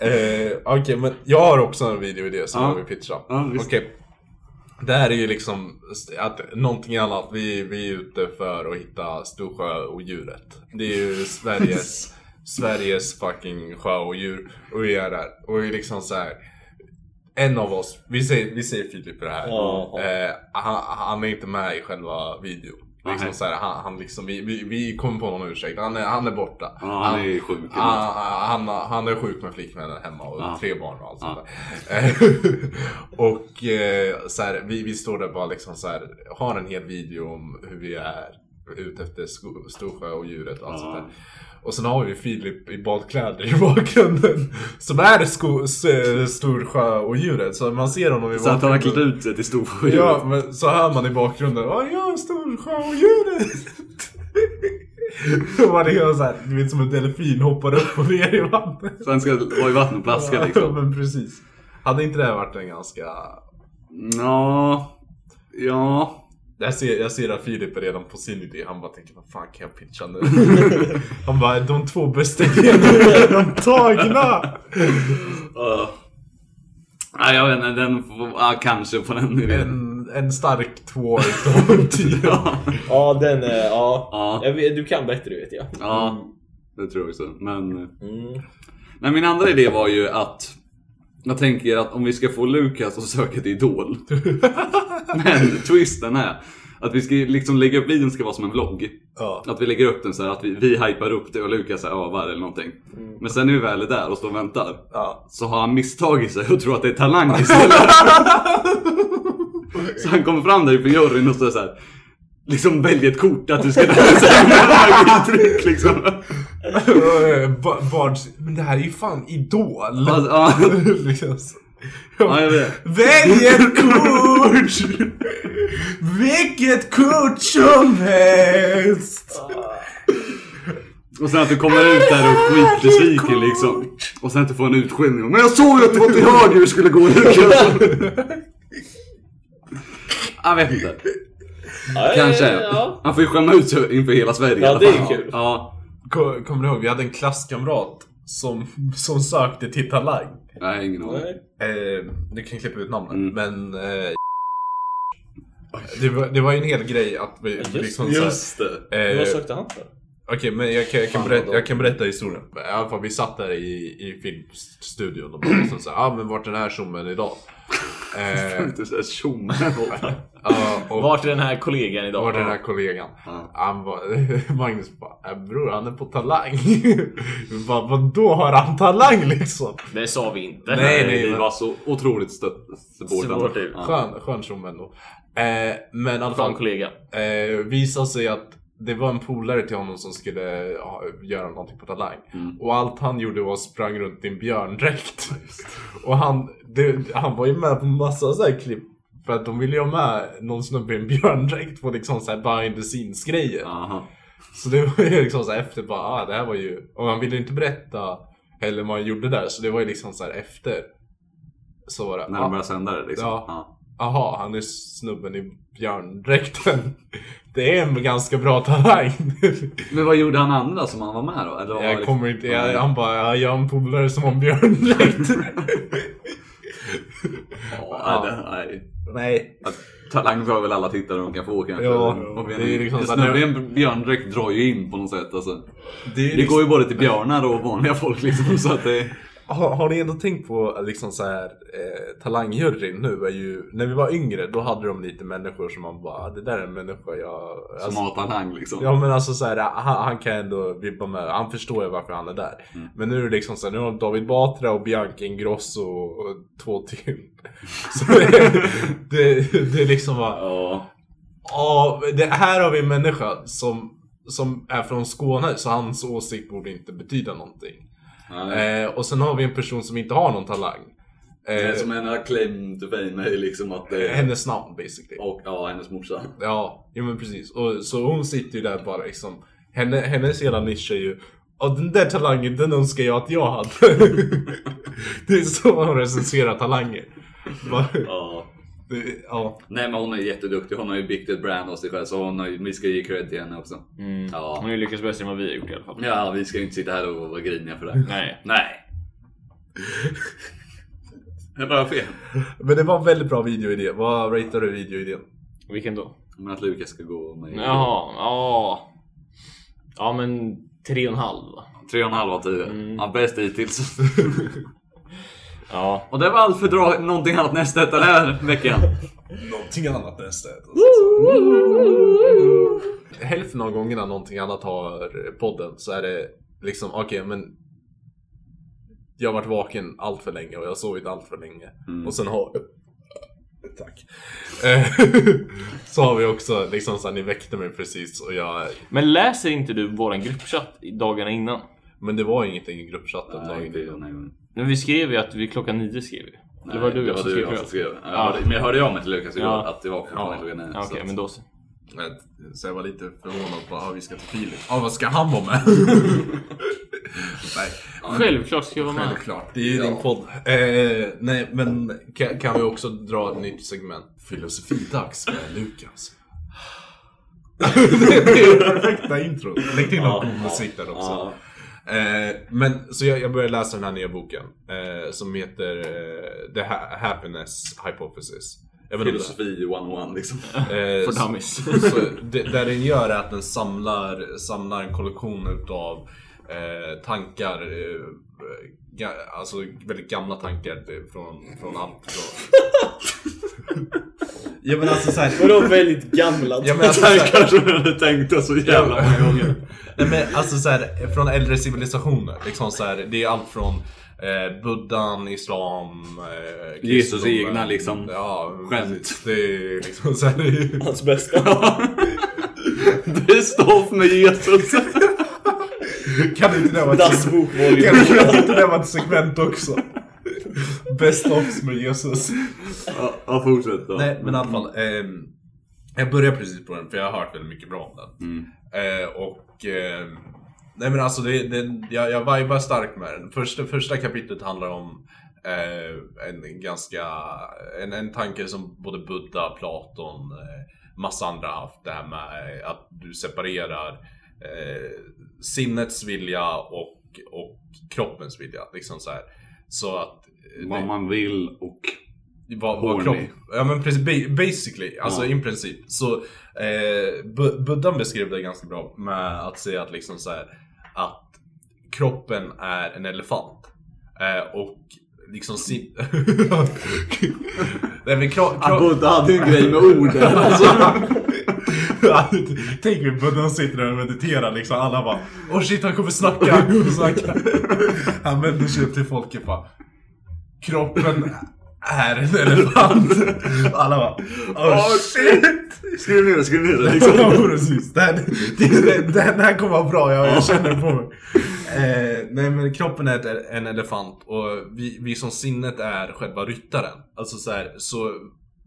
eh, Okej, men jag har också en videoidé som Ja. jag vill pitcha. Ja, Okej. visst. Det här är ju liksom att någonting annat. Vi, vi är ute för att hitta Storsjöodjuret. Det är ju Sveriges, Sveriges fucking sjöodjur. Och vi är där. Och vi är liksom så här. En av oss, vi säger, vi säger Filip i det här. Ja. Eh, han, han är inte med i själva videon. Liksom Nej. så här, han, han liksom, vi, vi, vi kommer på någon ursäkt. Han är, han är borta. Ja, han är ju sjuk. eller något. Han, Ah, han, han är sjuk med flickvännen hemma och Ja. tre barn och allt Ja. sånt där. Eh, och eh, så här, vi, vi står där bara liksom så här, har en hel video om hur vi är ute efter sko- Storsjö och djuret och allt Ja. sånt där. Och sen har vi Filip i badkläder i bakgrunden. Som är sko- s- Storsjö och djuret. Så man ser honom i Så att han har bakgrunden. klätt ut sig till Storsjö. Ja, men så hör man i bakgrunden. Åh, ja, storsjöodjuret! Man är så här, du vet som en delfin hoppar upp och ner i vattnet. Så han ska vara i vatten och plaska Ja, liksom. men precis. Hade inte det här varit en ganska... Ja. Ja. Jag ser, jag ser att Filip är redan på sin idé. Han bara tänker, vad fan kan jag pitcha nu? Han bara, de två bästa idéerna är redan tagna! Nej, jag vet inte. Den får, ja, kanske på den nivån. En, en stark typ. två utav tio. Ja. Ja, den är... Ja. Ja. Jag vet, du kan bättre vet jag. ja, det tror jag också. Men... eh. Mm. Nej, min andra idé var ju att jag tänker att om vi ska få Lukas att söka till Idol. Men twisten är att vi ska liksom lägga upp videon ska vara som en vlogg. Ja. Att vi lägger upp den så här att vi, vi hypar upp det och Lukas så här övar eller någonting. Men sen när vi väl är där och står och väntar Ja. så har han misstagit sig och tror att det är talang istället. så han kommer fram där inför juryn och så så här. Liksom välj ett kort att du ska uttryck liksom. Eh, ba- barns- Men det här är ju fan Idol! Alltså, ja. liksom. så. ja, jag vet. Välj ett kort! Vilket kort som helst! Och sen att du kommer ut där och skitbesviken liksom. Och sen att du får en utskällning. Men jag såg ju att det var till höger vi skulle gå Lukas. Jag vet inte. Ja, Kanske. Ja, Eh, ja. Han får ju skämma ut sig inför hela Sverige Ja, i alla det är fall. ju kul. Ja, Ko- Kommer du ihåg, vi hade en klasskamrat som, som sökte till Talang. nej ingen aning. Nej. Eh, du kan klippa ut namnet, Mm. men... Eh, det, var, det var ju en hel grej att vi just- liksom så här- Just det. eh, Vad sökte han för? Okej, men jag kan, jag, kan Fan, berätta, vad jag kan berätta historien. I alla fall, vi satt där i, i filmstudion och bara liksom såhär, ja ah, men vart är den här tjommen idag? Eh, Inte såhär tjom. ja, och Vart är den här kollegan idag? vart är den här kollegan? Ja. Han bara, Magnus bara, äh, bror han är på talang. Vi bara, vadå har han talang liksom? Det sa vi inte. Nej, nej, Vi men- var så otroligt stött- Supportive. supportive. Ja. Skön, skön tjomme ändå. Eh, men i Från alla fall, kollega. eh, visade sig att det var en polare till honom som skulle ja, göra någonting på Talang. Mm. Och allt han gjorde var att sprang runt i en björndräkt. och han, det, han var ju med på massa så här klipp. För att de ville ju ha med någon snubbe i en björndräkt på liksom så här behind the scenes grejer. Aha. Så det var ju liksom så här efter bara, ah, det här var ju... Och han ville inte berätta heller vad han gjorde där. Så det var ju liksom så här efter. Så var det. När ah, de började sända det liksom. Ja. Ja. Aha, han är snubben i björndräkten. Det är en ganska bra talang. Men vad gjorde han andra som han var med då? Eller vad var Jag det- kommer inte... Jag, han bara, "Ja, jag har en polare som har en björndräkt. Ja, nej, det- nej. Nej. Att Talang bör väl alla tittare de kan få kanske. Ja, Och det är liksom så att- snurrig en björndräkt drar ju in på något sätt alltså. Det, är ju Det liksom, går ju både till björnar och vanliga folk liksom. Så att det... har, har ni ändå tänkt på liksom så här, eh, talangjurin nu är ju... När vi var yngre då hade de lite människor som man bara, "Ah, det där är en människa jag... Som alltså, har talang liksom. Ja men alltså så här, han, han kan ändå vibba med, han förstår ju varför han är där. Mm. Men nu är det liksom så här, nu har David Batra och Bianca Ingrosso och, och två till. Så det, det, det är liksom bara, Ja. ja det här har vi en människa som, som är från Skåne så hans åsikt borde inte betyda någonting. Nej. Eh, och sen har vi en person som inte har någon talang. Det Eh, är som en acclaim to fame är ju liksom att det är... hennes namn basically. Och ja, hennes morsa. Ja, jo men precis. Och, så hon sitter ju där bara liksom. Henne, hennes hela nisch är ju Ja den där talangen den önskar jag att jag hade. det är så hon recenserar talanger. Bara, Ja. det- ja. Nej men hon är jätteduktig. Hon har ju byggt ett brand av sig själv. Så hon har, ju- vi ska ge cred till henne också. Mm. Hon Ja. har ju lyckats bättre än vad vi har gjort i alla fall. ja, vi ska ju inte sitta här och vara griniga för det. Nej. Nej. Jag bara fel. Men det var en väldigt bra videoidé. Vad ratear du videoidén? Vilken då? Men att Lukas ska gå med... Jaha, ja. Ja men tre och en halv va? Tre och en halv av tio. Mm. Ja, bäst hittills. Ja. och det var allt för dra- någonting annat nästa den här veckan. Någonting annat nästa. Hälften av gångerna någonting annat har podden så är det liksom okej men jag har varit vaken allt för länge och jag har sovit allt för länge. Mm. Och sen har... Tack. Eh, så har vi också liksom så här, ni väckte mig precis och jag... Men läser inte du våran gruppchatt i dagarna innan? Men det var ingenting i gruppchatten Nej, dagen inte innan. den här gången. Men vi skrev ju att vi klockan nio skrev vi. Eller var det du det var som du skrev? jag tror som jag? skrev. Jag Ja. hörde, men jag hörde ju av mig till Lukas igår Ja. att det var fortfarande klockan nio. Ja, Okej, så att- men då så. Så jag var lite förvånad på att vi ska till Filip. Ja, vad ska han vara med? Nej, Självklart ska jag vara med. självklart. Det är ju din podd. Eh, nej men kan, kan vi också dra ett nytt segment? Filosofidags med Lukas. det är ju perfekta intro. Lägg till någon god musik där också. Ja. Eh, men så jag, jag började läsa den här nya boken eh, som heter eh, The ha- Happiness Hypothesis. Jag vet inte. Filosofi 101 liksom. Eh, För så- dummies. så det, där den gör är att den samlar, samlar en kollektion utav eh, tankar, eh, ga, alltså väldigt gamla tankar eh, från, från allt från... ja men alltså såhär... Vadå väldigt gamla? Ja, men alltså, så här- Kanske jag hade tänkt det så jävla många gånger. Nej men alltså så här, från äldre civilisationer. Liksom så här, det är allt från eh, buddan, islam, eh, Jesus kristendomen. egna, liksom, Ja, skämt. precis. Det är liksom så här, Hans bästa. Det står med Jesus. Kan inte det vara ett, Dassbok volym. kan inte det vara ett segment också? Best offs med Jesus. Ja, ja, fortsätt då. Nej men i alla fall. ehm, jag började precis på den för jag har hört väldigt mycket bra om den. Eh, och... ehm, nej men alltså det, det, jag, jag vibar starkt med den. Första, första kapitlet handlar om eh, en ganska... En, en tanke som både Buddha, Platon, eh, massa andra haft. Det här med eh, att du separerar eh, sinnets vilja och, och kroppens vilja. Liksom så här. Så att... eh, det- Vad man vill och vad, vad Horny. kropp... Ja men precis, ba- basically, alltså i princip. Så eh, Bu- Buddhan beskrev det ganska bra med att säga att liksom så här, att kroppen är en elefant. Eh, och liksom sin... Nej men kro- kro- Abudda hade ju en grej med orden. Alltså, Tänk vi Buddha sitter där och mediterar liksom, alla bara Åh shit han kommer snacka, han kommer snacka Han vänder sig upp till folket bara Kroppen är en elefant Alla bara Åh shit! skriv ner det, skriv ner det. Liksom. Ja, precis. Den, den, den här kommer vara bra, jag, jag känner på mig. Eh, nej men kroppen är ett, en elefant och vi, vi som sinnet är själva ryttaren. Alltså så, här, så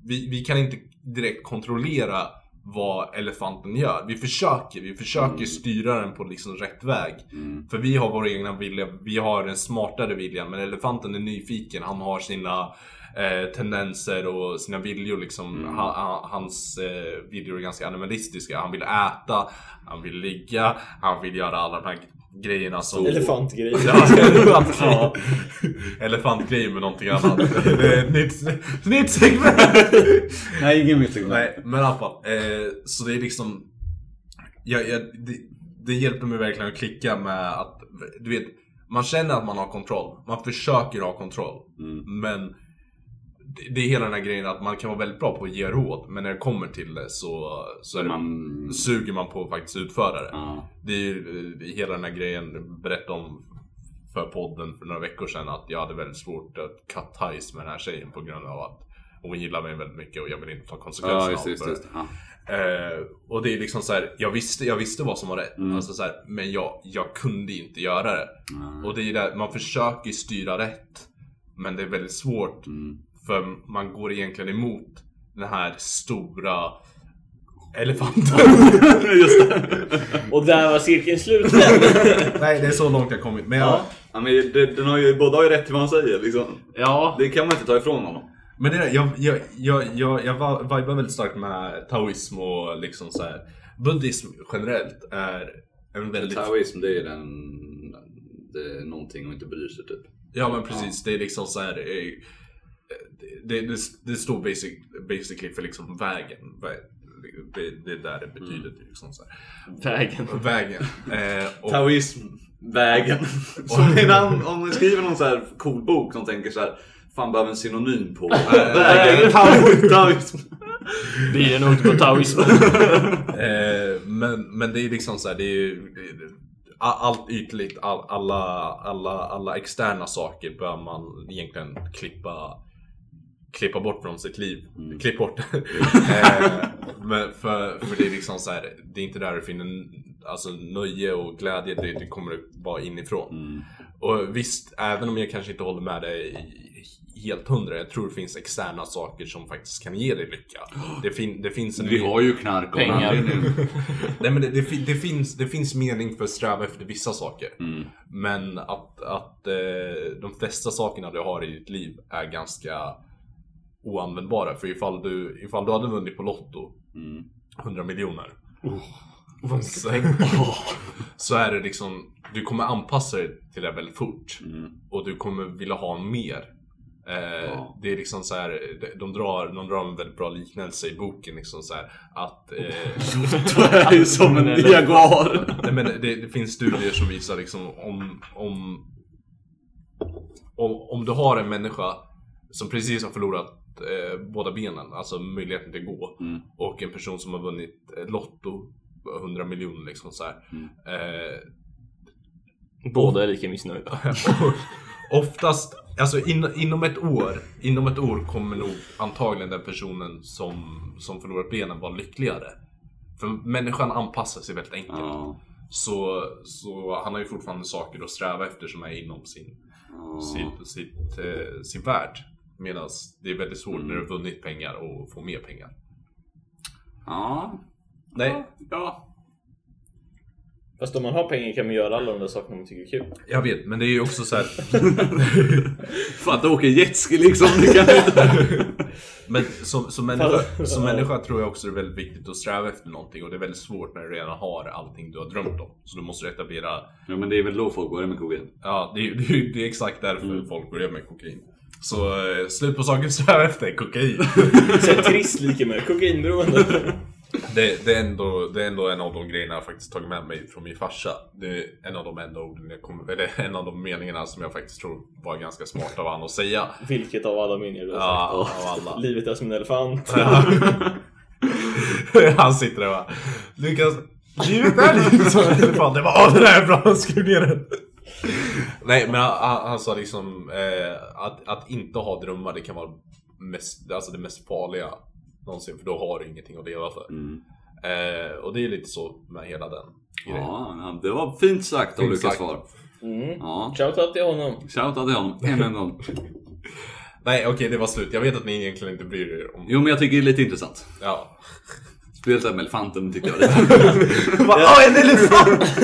vi, vi kan inte direkt kontrollera vad elefanten gör. Vi försöker, vi försöker Mm. styra den på liksom rätt väg. För vi har vår egna vilja, vi har den smartare viljan. Men elefanten är nyfiken, han har sina eh, tendenser och sina viljor liksom. Ha, ha, hans eh, viljor är ganska animalistiska. Han vill äta, han vill ligga, han vill göra alla de här grejerna som... Elefantgrej. Ja, elefant- ja. Elefantgrej med någonting annat. Det är ett nytt, nytt segment! Nej, ingen misslyckning. Nej, men i alla fall. Eh, så det är liksom... Jag, jag, det, det hjälper mig verkligen att klicka med att... Du vet, man känner att man har kontroll. Man försöker ha kontroll. Mm. Men det, det är hela den här grejen att man kan vara väldigt bra på att ge råd. Men när det kommer till det så, så är det, Mm. Man... suger man på att faktiskt utföra det. Ja. Det är ju eh, hela den här grejen, jag berättade om för podden för några veckor sedan att jag hade väldigt svårt att cut ties med den här tjejen på grund av att hon gillar mig väldigt mycket och jag vill inte ta Ja, konsekvenserna just det, av just det. det. just det. Ja. Eh, och det är liksom så här, jag visste, jag visste vad som var rätt. Mm. Alltså så här, men jag, jag kunde inte göra det. Och det är ju där, man försöker ju styra rätt. Men det är väldigt svårt. Mm. För man går egentligen emot den här stora elefanten. Och där var cirkeln slut. Nej, det är så långt jag kommit. Men jag, Ja, men det, den har ju, båda har ju rätt till vad han säger liksom. Ja, Det kan man inte ta ifrån honom. Men det där, jag, jag, jag, jag, jag va- vibar väldigt starkt med taoism och liksom så här. Buddhism generellt är en väldigt... Taoism, det är ju den... Det är någonting och inte bryr sig typ. Ja men precis, det är liksom så här. eh, Det, det, det står basic, basically för liksom vägen. Vä- Det, det är där det betyder. Liksom så här. vägen. Vägen. Eh, och, Mm. Taoism, vägen. Som innan, om man skriver någon så här cool bok som tänker så här. Fan behöver en synonym på vägen. Tao- Taoism. Bilen åkte på taoism. Eh, men, men det är liksom så här, det är ju a- allt ytligt, all, alla, alla, alla externa saker bör man egentligen klippa klippa bort från sitt liv. Mm. Klipp bort. eh, men för, för det är liksom så här, det är inte där du finner alltså, nöje och glädje, det, det kommer bara inifrån. Mm. Och visst, även om jag kanske inte håller med dig i- helt hundra, jag tror det finns externa saker som faktiskt kan ge dig lycka. Det, fin, det finns en Vi har ju knark av en Pengar. anledning. Nej men det, det, fin- det, finns, det finns mening för att sträva efter vissa saker. Mm, Men att, att eh, de flesta sakerna du har i ditt liv är ganska oanvändbara. För ifall du, ifall du hade vunnit på Lotto, mm, 100 miljoner. så, så är det liksom, du kommer anpassa dig till det väldigt fort. mm. Och du kommer vilja ha mer. Eh, Det är liksom så här, de- de drar, de drar en väldigt bra liknelse i boken liksom så här, att eh, Det är ju som en jaguar. Nej, men det, det finns studier som visar liksom om, om, om, om du har en människa som precis har förlorat eh, båda benen, alltså möjligheten till att gå, Mm, och en person som har vunnit eh, Lotto, 100 miljoner liksom så här. Eh, Båda är lika missnöjda. Oftast, alltså in, inom ett år, inom ett år kommer nog antagligen den personen som, som förlorat benen vara lyckligare. För människan anpassar sig väldigt enkelt. Ja. Så, så han har ju fortfarande saker att sträva efter som är inom sin, sitt, sitt, eh, sin värld. Medan det är väldigt svårt när du har vunnit pengar och få mer pengar. Ja. Nej, Ja. Fast om man har pengar kan man göra alla de där sakerna man tycker är kul. jag vet, men det är ju också så här. Fan att åka jetski liksom. Det kan inte... Men som, som, människa, som människa tror jag också det är väldigt viktigt att sträva efter någonting och det är väldigt svårt när du redan har allting du har drömt om. Så du måste etablera, Ja men det är väl då folk börjar med kokain. ja det är ju det är, ju- det är exakt därför folk börjar med kokain. Så eh, slut på saker sträva efter, kokain. Så här trist lika med kokainberoende. Det, det, är ändå, det är ändå en av de grejerna jag faktiskt tagit med mig från min farsa. Det är en av de enda orden jag kommer, eller en av de meningarna som jag faktiskt tror var ganska smart av han att säga. Vilket av alla meningar du har sagt. Ja, av alla. Livet är som en elefant. Han sitter där och bara Lukas, livet är lite som en elefant. Jag bara, "Ja, det där är bra, skriv ner den. Nej men han, han- han sa liksom eh, att, att inte ha drömmar det kan vara mest, alltså det mest farliga någonsin för då har du ingenting att leva för. Mm. Eh, och det är lite så med hela den grejen. Ja, ja, det var fint sagt av Fint Lukas sagt. far. Mm. Ja, Shoutout till honom. shoutout till honom än en gång. Nej okej det var slut, jag vet att ni egentligen inte bryr er om... Jo men jag tycker det är lite intressant. Ja. Speciellt det här med elefanten tycker jag. är lite- Åh en elefant!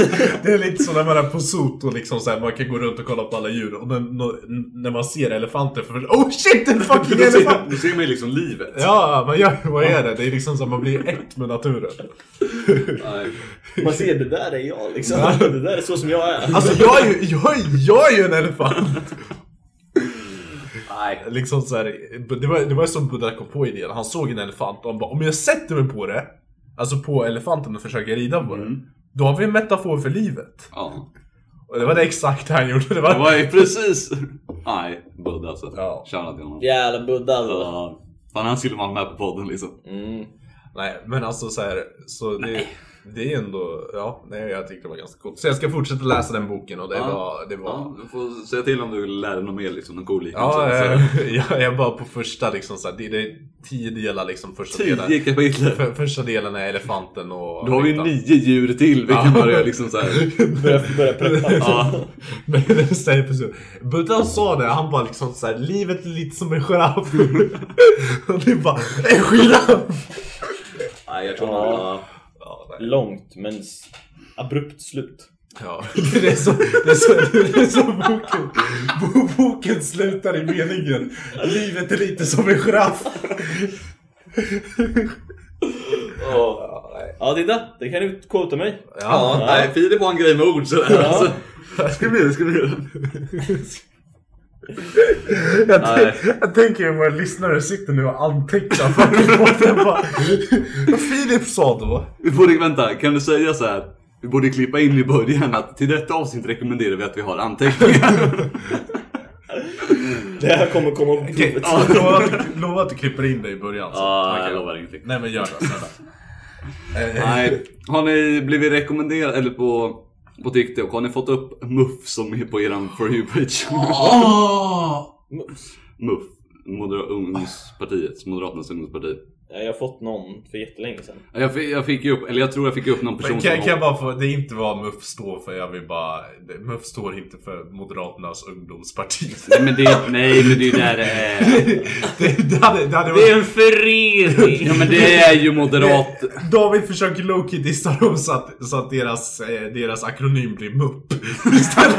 det är lite som när man är på Soto liksom så här, man kan gå runt och kolla på alla djur och när, när man ser elefanter för oh shit en fucking Då ser- elefant! Då ser man ju liksom livet. Ja, man gör, vad är det? Det är liksom så att man blir ett med naturen. Nej. Man ser, det där är jag liksom. Det där är så som jag är. Alltså jag är ju, jag, är- jag är ju en elefant! Nej. Liksom så här, det var, det var som Buddha kom på idén, han såg en elefant och han bara om jag sätter mig på det, alltså på elefanten och försöker rida på den, då har vi en metafor för livet. Ja. Och det var det exakt han gjorde. Det var, Det var ju precis... Nej, Buddha alltså. Ja. Shoutout till honom. Jävla Buddha alltså. Ja. Fan han skulle vara med på podden liksom. Mm. Nej, men alltså så här, så det, det är ändå, ja, nej, jag tyckte det var ganska coolt. Så jag ska fortsätta läsa den boken och det Ja. var, det var... Ja, du får säga till om du vill lära dig något mer liksom, någon cool Ja, liknelse. jag, jag, jag bara på första liksom så här, det, det är tio delar liksom första Tio delen. kapitel. För, första delen är elefanten och... Då har vi ryttaren. nio djur till vi kan börja liksom så här. Börja, börja preppa. Ja, Men det är så här precis. Buddha sa det, han bara liksom så här, livet är lite som en giraff. och det är bara, en giraff! nej, jag tror nog- Ja. Ja, nej. Långt men s- abrupt slut. Ja, det är så, det är så, det är så boken, bo- boken slutar i meningen. Livet är lite som en giraff. Ja Didda, det kan du quota mig. Ja, nej, Filip har en grej med ord sådär. Ja. Alltså. Ska bli det, ska bli det. Jag, Nej. tänk, jag tänker ju våra lyssnare sitter nu och antecknar för podden. bara, Vad Filip sa då. Vi borde, vänta, kan du säga så här? Vi borde klippa in i början att till detta avsnitt rekommenderar vi att vi har anteckningar. Det här kommer komma på provet. Lova att, du- lova att du klipper in det i början. Så. Ja, Okej. jag lovar ingenting. Nej men gör det. snälla. Eh, Nej, har ni blivit rekommenderade, eller på, på TikTok, har ni fått upp MUF som är på eran For You-page? Ah! MUF, Moder- ungdomspartiet, Moderaternas ungdomsparti. Ja, jag har fått någon för jättelänge sedan. Jag fick, jag fick ju upp, eller jag tror jag fick upp någon person Kan, kan som... jag bara få, det är inte vad MUF står för, jag vill bara... MUF står inte för Moderaternas ungdomsparti. Nej men det, nej, men det är ju där det är. Det, det hade, det hade Det är varit... en förening! Ja men det är ju moderat... Eh, David försöker lowkey dissa dem så att, så att deras, eh, deras akronym blir MUP. Istället.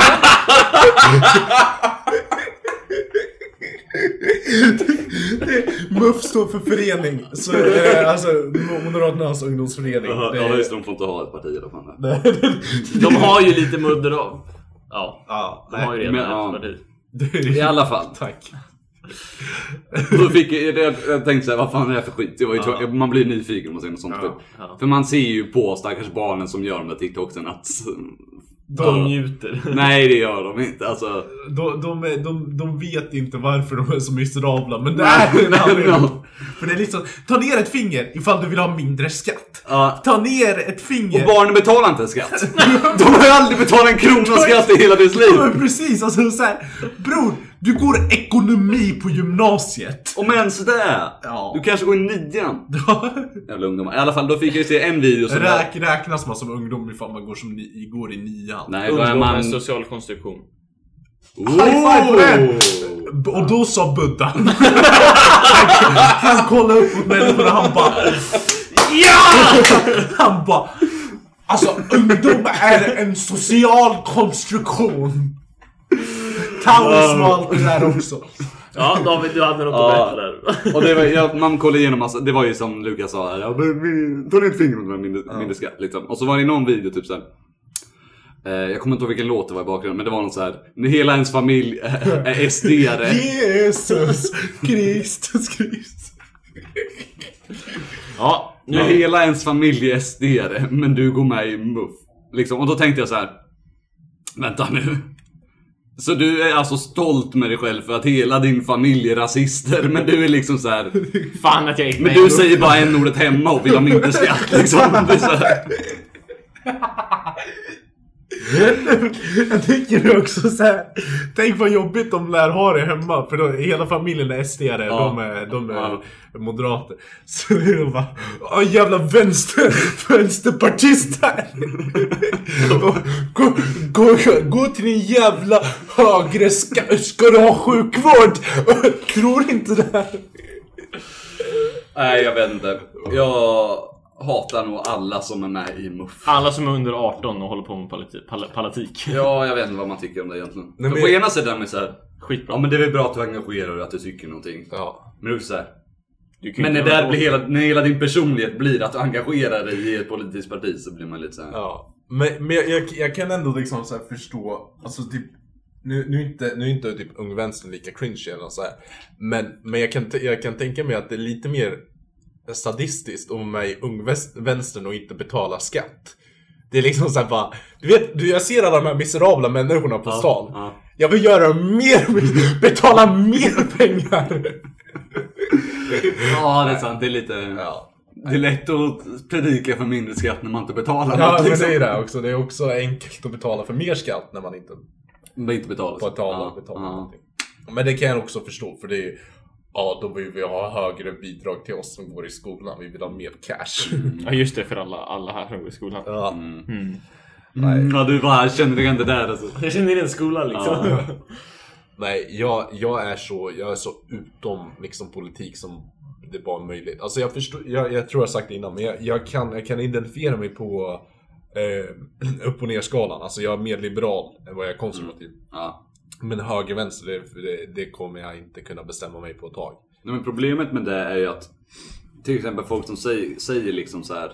Det- MUF står för förening. Så, eh, alltså Moderaternas ungdomsförening. Det- Ja just det, de får inte ha ett parti i alla fall. det- det- De har ju lite moderat... Ja, Ja, de har nej. ju redan Men, ja. ett parti. I alla fall. Tack. Då fick jag, jag, jag tänkte såhär, vad fan är det här för skit? Jag var ju, tvungen- Man blir nyfiken om man ser något sånt. typ. ja. För man ser ju på stackars barnen som gör de där TikToksen att... De njuter. Nej det gör de inte. Alltså, De, de, är- de, de vet inte varför de är så miserabla, men det är en anledning. Ja. För det är liksom, ta ner ett finger ifall du vill ha mindre skatt. Ja. Ta ner ett Och finger. barnen betalar inte en skatt. De har ju aldrig betalat en krona skatt i hela deras Ja, liv. men precis, alltså så här, Bror, du går ekonomi på gymnasiet. Om ens det. Ja. Du kanske går i nian. Jävla ungdomar. I alla fall, då fick jag ju se en video som... Räk, räknas man som ungdom ifall man går, som ni, går i nian? Nej, då är Ungdom är man... en social konstruktion. High five på den! B- Och då sa Buddha. han, han kollade upp mot människorna han bara... Ja! han bara... Alltså ungdom är en social konstruktion. Taoism och allt det där också. Ja David, du hade något Ja. att berätta där. Och det var, ja, man kollade igenom massa, det var ju som Lukas sa här, ja, men vi- ta ner ett finger med mindre, mindre skatt liksom. Och så var det någon video typ såhär. Eh, Jag kommer inte ihåg vilken låt det var i bakgrunden, men det var något så här. När hela ens familj är är SD-are. Jesus Kristus Kristus. Ja, När hela ens familj är SD-are, men du går med i MUF. Liksom. Och då tänkte jag så här. Vänta nu. Så du är alltså stolt med dig själv för att hela din familj är rasister, men du är liksom så här. fan att jag gick Men i du MUF. säger bara en ordet hemma och vill ha mindre skatt liksom. Det är så här. Jag tycker också så här. Tänk vad jobbigt de lär ha det hemma. För då, hela familjen är sd ja. de är, de är Ja. moderater. Så det är de bara, "Åh, jävla vänster, vänsterpartister! gå, gå, gå till din jävla högre, ska, ska du ha sjukvård? Tror inte det här. Nej, jag vet inte. Jag hatar nog alla som är med i MUF. Alla som är under 18 och håller på med politi- pal- palatik. Ja, jag vet inte vad man tycker om det egentligen. Nej, men- På ena sidan är man så här. Ja Skitbra. men det är väl bra att du engagerar dig, att du tycker någonting. Ja. Men du är så här. Du kan ju Men när, inte göra där blir något. hela, när hela din personlighet blir att du engagerar dig i ett politiskt parti så blir man lite såhär... Ja. Men, men jag, jag, jag kan ändå liksom så här förstå, alltså typ nu, nu, är inte, nu är inte typ Ung Vänstern lika cringe eller något så här. Men, men jag, kan, t- jag kan tänka mig att det är lite mer sadistiskt om man är i Ung Väst- Vänstern och inte betala skatt. Det är liksom såhär bara, du vet, du, jag ser alla de här miserabla människorna på stan. ja. Jag vill göra mer, betala mer pengar! Ja, det är sant. Det är lite... Ja. Det är lätt att predika för mindre skatt när man inte betalar Ja, något. men det Liksom. är det också. Det är också enkelt att betala för mer skatt när man inte Men inte betalar. betalar, Ja, betalar ja. någonting. Men det kan jag också förstå för det är ju, ja då vill vi ha högre bidrag till oss som går i skolan. Vi vill ha mer cash. Ja just det, för alla, alla här som går i skolan. Ja. Mm, ja, du bara känner dig inte där alltså. Jag känner igen skolan liksom. Nej, jag, jag, är så, jag är så utom liksom, politik som det bara är möjligt. Alltså jag, förstår, jag, jag tror jag har sagt det innan, men jag, jag, kan, jag kan identifiera mig på eh, upp och ner-skalan. Alltså jag är mer liberal än vad jag är konservativ. Mm. Ja. Men höger-vänster, det, det, det kommer jag inte kunna bestämma mig på ett tag. Nej, men problemet med det är ju att till exempel folk som säger, säger liksom så här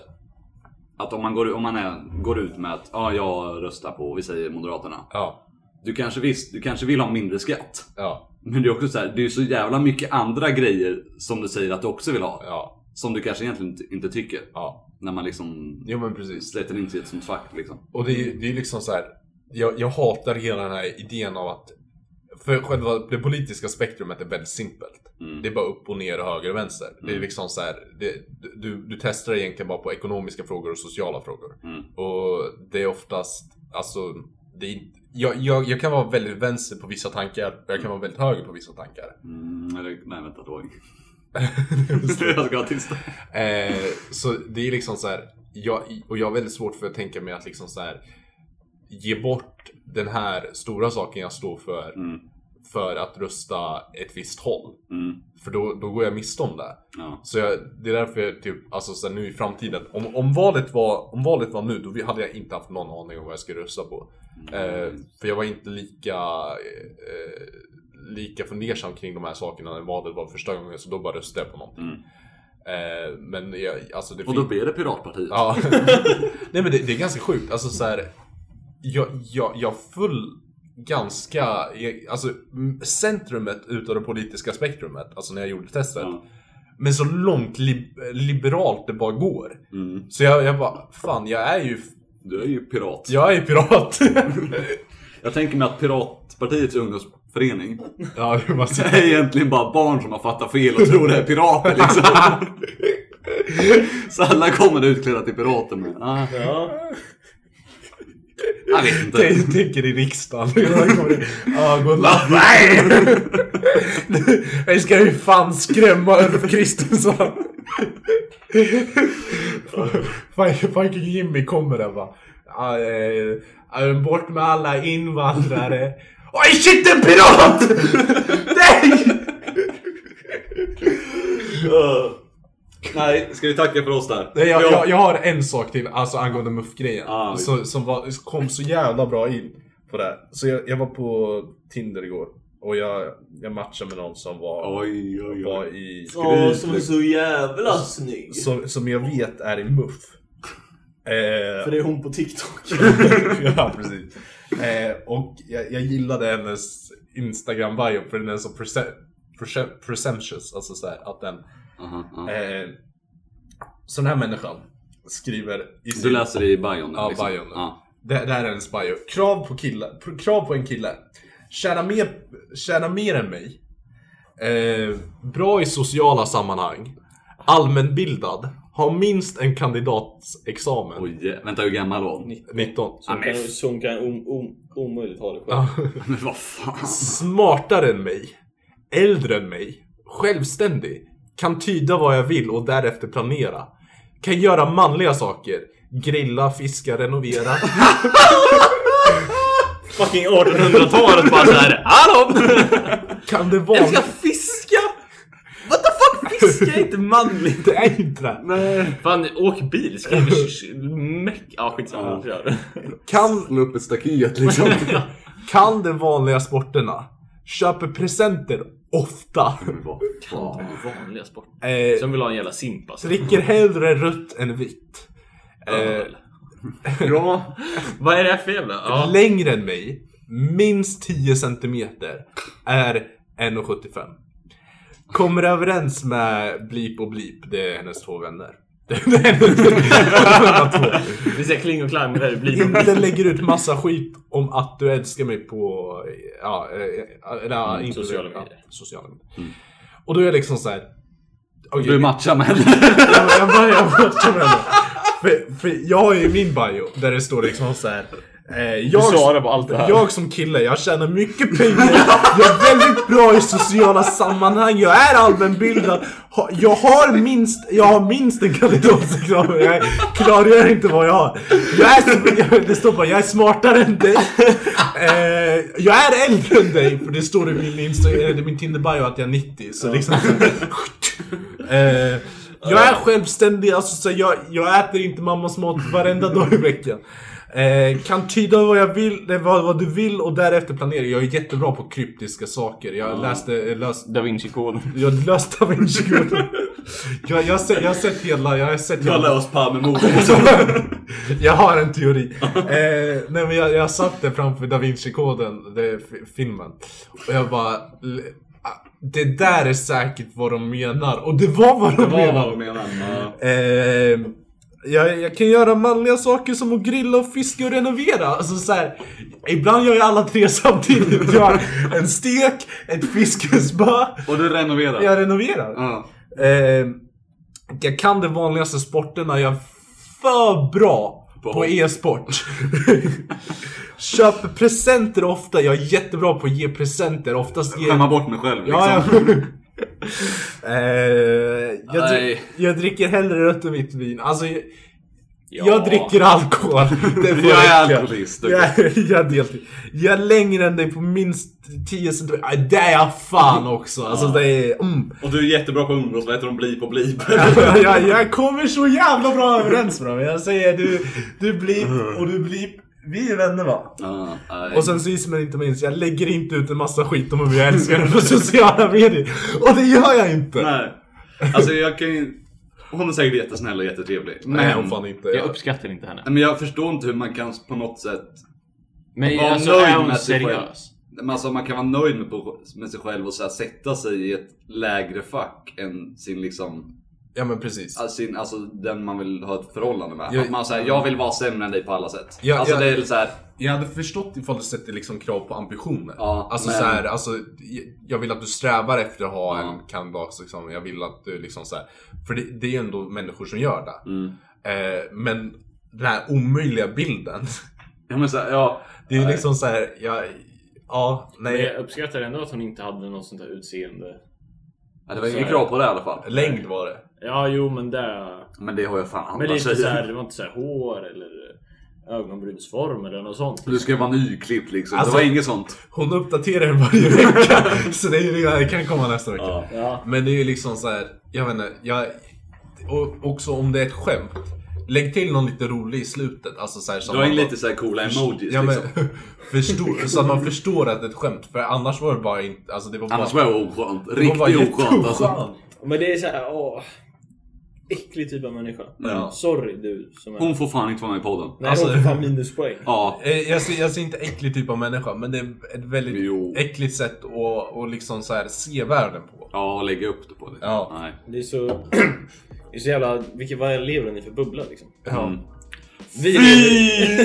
att om man går, om man är, går ut med att ja, jag röstar på, vi säger Moderaterna. Ja, Du kanske visst, du kanske vill ha mindre skatt. ja, Men det är också så här, det är ju så jävla mycket andra grejer som du säger att du också vill ha. ja, Som du kanske egentligen inte, inte tycker. ja. När man liksom Jo men precis. släter in sig i ett sånt fack liksom. Och det är ju det är liksom så här. Jag, jag hatar hela den här idén av att... För själva det politiska spektrumet är väldigt simpelt. Det är bara upp och ner och höger och vänster. Det är liksom så här, det, du, du testar egentligen bara på ekonomiska frågor och sociala frågor. Och det är oftast, alltså... Det är, jag, jag, jag kan vara väldigt vänster på vissa tankar och jag kan vara väldigt höger på vissa tankar. Mm, eller, nej vänta, det var inget. jag ska vara tyst. Eh, så det är liksom så här, jag, och jag har väldigt svårt för att tänka mig att liksom så här, ge bort den här stora saken jag står för Mm. för att rösta ett visst håll. Mm, För då, då går jag miste om det. ja. Så jag, det är därför jag typ, alltså så här, nu i framtiden, om, om, valet var, om valet var nu då vi- hade jag inte haft någon aning om vad jag skulle rösta på. Mm. Eh, för jag var inte lika, eh, lika fundersam kring de här sakerna när valet var första gången så då bara röstade jag på någonting. Mm. Eh, men jag, alltså det Och finns... då blir det Piratpartiet. Ja. Nej men det, det är ganska sjukt. Alltså så här, jag, jag, jag full ganska, jag- alltså m- centrumet utav det politiska spektrumet, alltså när jag gjorde testet. Ja. Men så långt lib- liberalt det bara går. Mm. Så jag, jag bara, fan jag är ju, Du är ju pirat. jag är ju pirat. Jag tänker mig att Piratpartiets ungdomsförening ja, det var så. är egentligen bara barn som har fattat fel och tror det är pirater liksom. Så alla kommer utklädda till pirater med. Ah, Ja. jag vet Jag inte. tänker i riksdagen. Jag kommer- Ja, gå och la- Nej! Jag ska ju fan skrämma Ulf Kristersson. Fan, Fucking Jimmy kommer där bara. "Ja, eh, ja, Bort med alla invandrare. Oj shit en pirat! Nej! Nej, ska vi tacka för oss där? Nej, jag, jag, jag har en sak till, alltså angående muff-grejen. Ah, så- som, var, som kom så jävla bra in på det här. Så jag, jag var på Tinder igår. Och jag, jag matchade med någon som var, Oj, oj, oj. var i... liksom. Åh, som är så jävla snygg. Som, som jag vet är i muff. Eh, För det är hon på TikTok. ja, precis. Eh, och jag, jag gillade hennes Instagram-bio för den är så prese- prese- presumptuous, alltså så här, att den... Aha, ja. Eh, så den här människan skriver i Du sin... läser det i bion nu, Ja, liksom. bion nu. Ja. Det, det här är hennes bio. Krav på, killa, pr- krav på en kille. Tjäna mer, tjäna mer än mig. Eh, bra i sociala sammanhang. Allmänbildad. Har minst en kandidatexamen. Oj, eh, vänta hur gammal var hon? 19. Så hon kan, så hon kan om, om, omöjligt ha det själv. Men vad fan? Smartare än mig. Äldre än mig. Självständig. Kan tyda vad jag vill och därefter planera. Kan göra manliga saker. Grilla, fiska, renovera. Fucking 1800! 100-talet bara såhär Hallå! kan det vara... fiska! What the fuck? Fiska är inte manligt! Det är inte det. Fan, åk bil, skriv meck... Ja skitsamma, vi kör. Kan, Slå upp ett staket liksom. kan de vanliga sporterna. Köper presenter ofta. Vanliga sporter. Eh, Som vill ha en jävla simp alltså. dricker hellre rött än vitt. Eh, Bra. Vad är det här för jävla... Ja. Längre än mig. Minst 10 centimeter. Är 1,75. Kommer överens med Blip och Blip. Det är hennes två vänner. Det är hennes två. Vi ser Kling och Klang, det här blir... Inte lägger ut massa skit om att du älskar mig på ja, eh, eh, eller, ja, inte- Mm, sociala ja, medier. Mm. sociala medier. Och då är jag liksom så här. okej, Du matchar med henne. jag, jag börjar borta med det. För, för jag har ju min bio där det står liksom så här. Eh, jag, svarar på allt det här. jag som kille, jag tjänar mycket pengar, jag är väldigt bra i sociala sammanhang, jag är allmänbildad, ha- jag har minst, jag har minst en kandidatexamen, jag är- klargör inte vad jag har. Jag är, sm- det står bara, jag är smartare än dig, eh, jag är äldre än dig, för det står i min, Insta- eller min Tinder-bio att jag är 90, så liksom Eh, jag är självständig, alltså, så jag, jag äter inte mammas mat varenda dag i veckan. Eh, kan tyda vad, jag vill, eh, vad, vad du vill och därefter planera. Jag är jättebra på kryptiska saker. Jag läste, jag läste, Da Vinci-koden. jag läste Da vinci Code. jag, jag, har sett- jag har sett hela, jag har sett hela. oss Palmemordet. Jag har en teori. Eh, nej men jag, jag satt där framför Da Vinci-koden, det- f- filmen. Och jag bara... l- ah, Det där är säkert vad de menar. Och det var vad de menade. Eh, jag, jag kan göra manliga saker som att grilla och fiska och renovera. Alltså så här, ibland gör jag alla tre samtidigt. Jag har en stek, ett fiskespö, Och du renoverar? jag renoverar. Ja. Eh, jag kan de vanligaste sporterna, jag är för bra på e-sport. Köper presenter ofta, jag är jättebra på att ge presenter. Oftast ger... Skämma bort mig själv liksom. Ja, ja. eh, jag, dri- Nej. jag dricker hellre rött än vitt vin. Alltså, jag, jag dricker alkohol. Det får Jag är räcka. alkoholist, okej. Jag, jag, är deltid. jag är längre än dig på minst 10 centimeter. Aj, Det är jag fan också. Alltså, det är, mm. Och du är jättebra på att umgås, vad heter de? Blip och blip. jag, jag kommer så jävla bra överens med dem. Jag säger du, du blir och du blir. Vi är vänner va? Ja, nej. Och sen sist men inte minst, jag lägger inte ut en massa skit om hur jag älskar den på sociala medier. Och det gör jag inte. Nej. Alltså jag kan ju... Hon är säkert jättesnäll och jättetrevlig. Nej, men... hon fan inte. Jag uppskattar inte henne. Men jag förstår inte hur man kan på något sätt... Men Var alltså, nöjd är hon med sig själv. seriös? Men Alltså man kan vara nöjd med, på, med sig själv och så här, sätta sig i ett lägre fack än sin liksom... Ja men precis. Alltså, sin, alltså den man vill ha ett förhållande med. Ja. Att man säger jag vill vara sämre än dig på alla sätt. Ja, alltså ja. det är så här, Jag hade förstått ifall du sätter liksom krav på ambitioner. Ja, alltså men- så här, alltså, jag- jag vill att du strävar efter att ha Ja. en kandidat. Liksom. Jag vill att du liksom så här, För det, det är ju ändå människor som gör det. Mm. Eh, men den här omöjliga bilden. ja men så här, ja. Det är ju liksom så här, jag, ja, Men nej. jag uppskattar ändå att hon inte hade något sånt där utseende. ja, det var Så inget här. krav på det i alla fall. Längd var det. Ja, jo men det... Men det har jag fan Men andra det, är inte så här, det var inte såhär hår eller ögonbrynsform eller något sånt. Du ska vara nyklippt liksom. Alltså- det var inget sånt. Hon uppdaterar den varje vecka. så det, är, ju- det kan komma nästa vecka. Ja. Men det är ju liksom så här, jag vet inte, jag, och också om det är ett skämt. Lägg till någon lite rolig i slutet. Alltså så här, så Dra man in bara- lite så här coola emojis Ja, men, liksom. förstå, så att man förstår att det är ett skämt. För annars var det bara inte... Alltså det var bara... Annars var det oskönt. det var bara Riktigt oskönt alltså. jätteoskönt. Men det är såhär, åh. äcklig typ av människa. Ja. Sorry du som är... Hon får fan inte vara med i podden. Nej, Alltså- hon får fan minuspoäng. Ja. Eh, Jag ser, jag ser inte äcklig typ av människa, men det är ett väldigt Jo. äckligt sätt att, att liksom så här se världen på. Ja, och lägga upp det på det. Ja. Nej. Det är så... Det är så jävla... Vilket, vad lever den i för bubbla liksom? Mm. Vi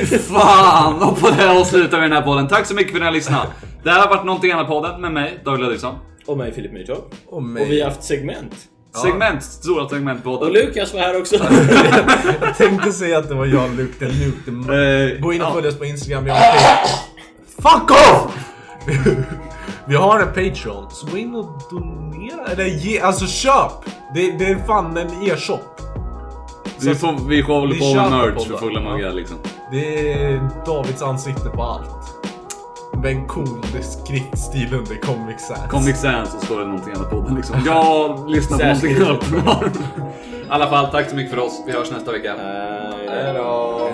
Fy fan! Och på det här avslutar vi den här podden. Tack så mycket för att ni har lyssnat. Det här har varit någonting annat podden med mig, David Ludvigsson. och mig Filip Myrtorp. Och mig. Och vi har haft segment. Segment, stora Och segmentpodden. Lukas var här också. Jag tänkte säga att det var jag, Luke the Nuke. the Ma- Eh, Gå in och ja. följ oss på Instagram. Vi har en Patreon. Fuck off! Vi har en Patreon, så gå in och donera. Eller ge, alltså köp! Det, det är fan en e-shop. Vi får, vi får hålla Vi på med kör på merch podden. för fulla muggar liksom. Det är Davids ansikte på allt. Med en cool skriftstil under Comic Sans. Comic Sans och står det någonting annat podden liksom. Jag lyssnar på Särskilt. någonting annat. I alla fall, tack så mycket för oss. Vi hörs nästa vecka. Eh, Hej då!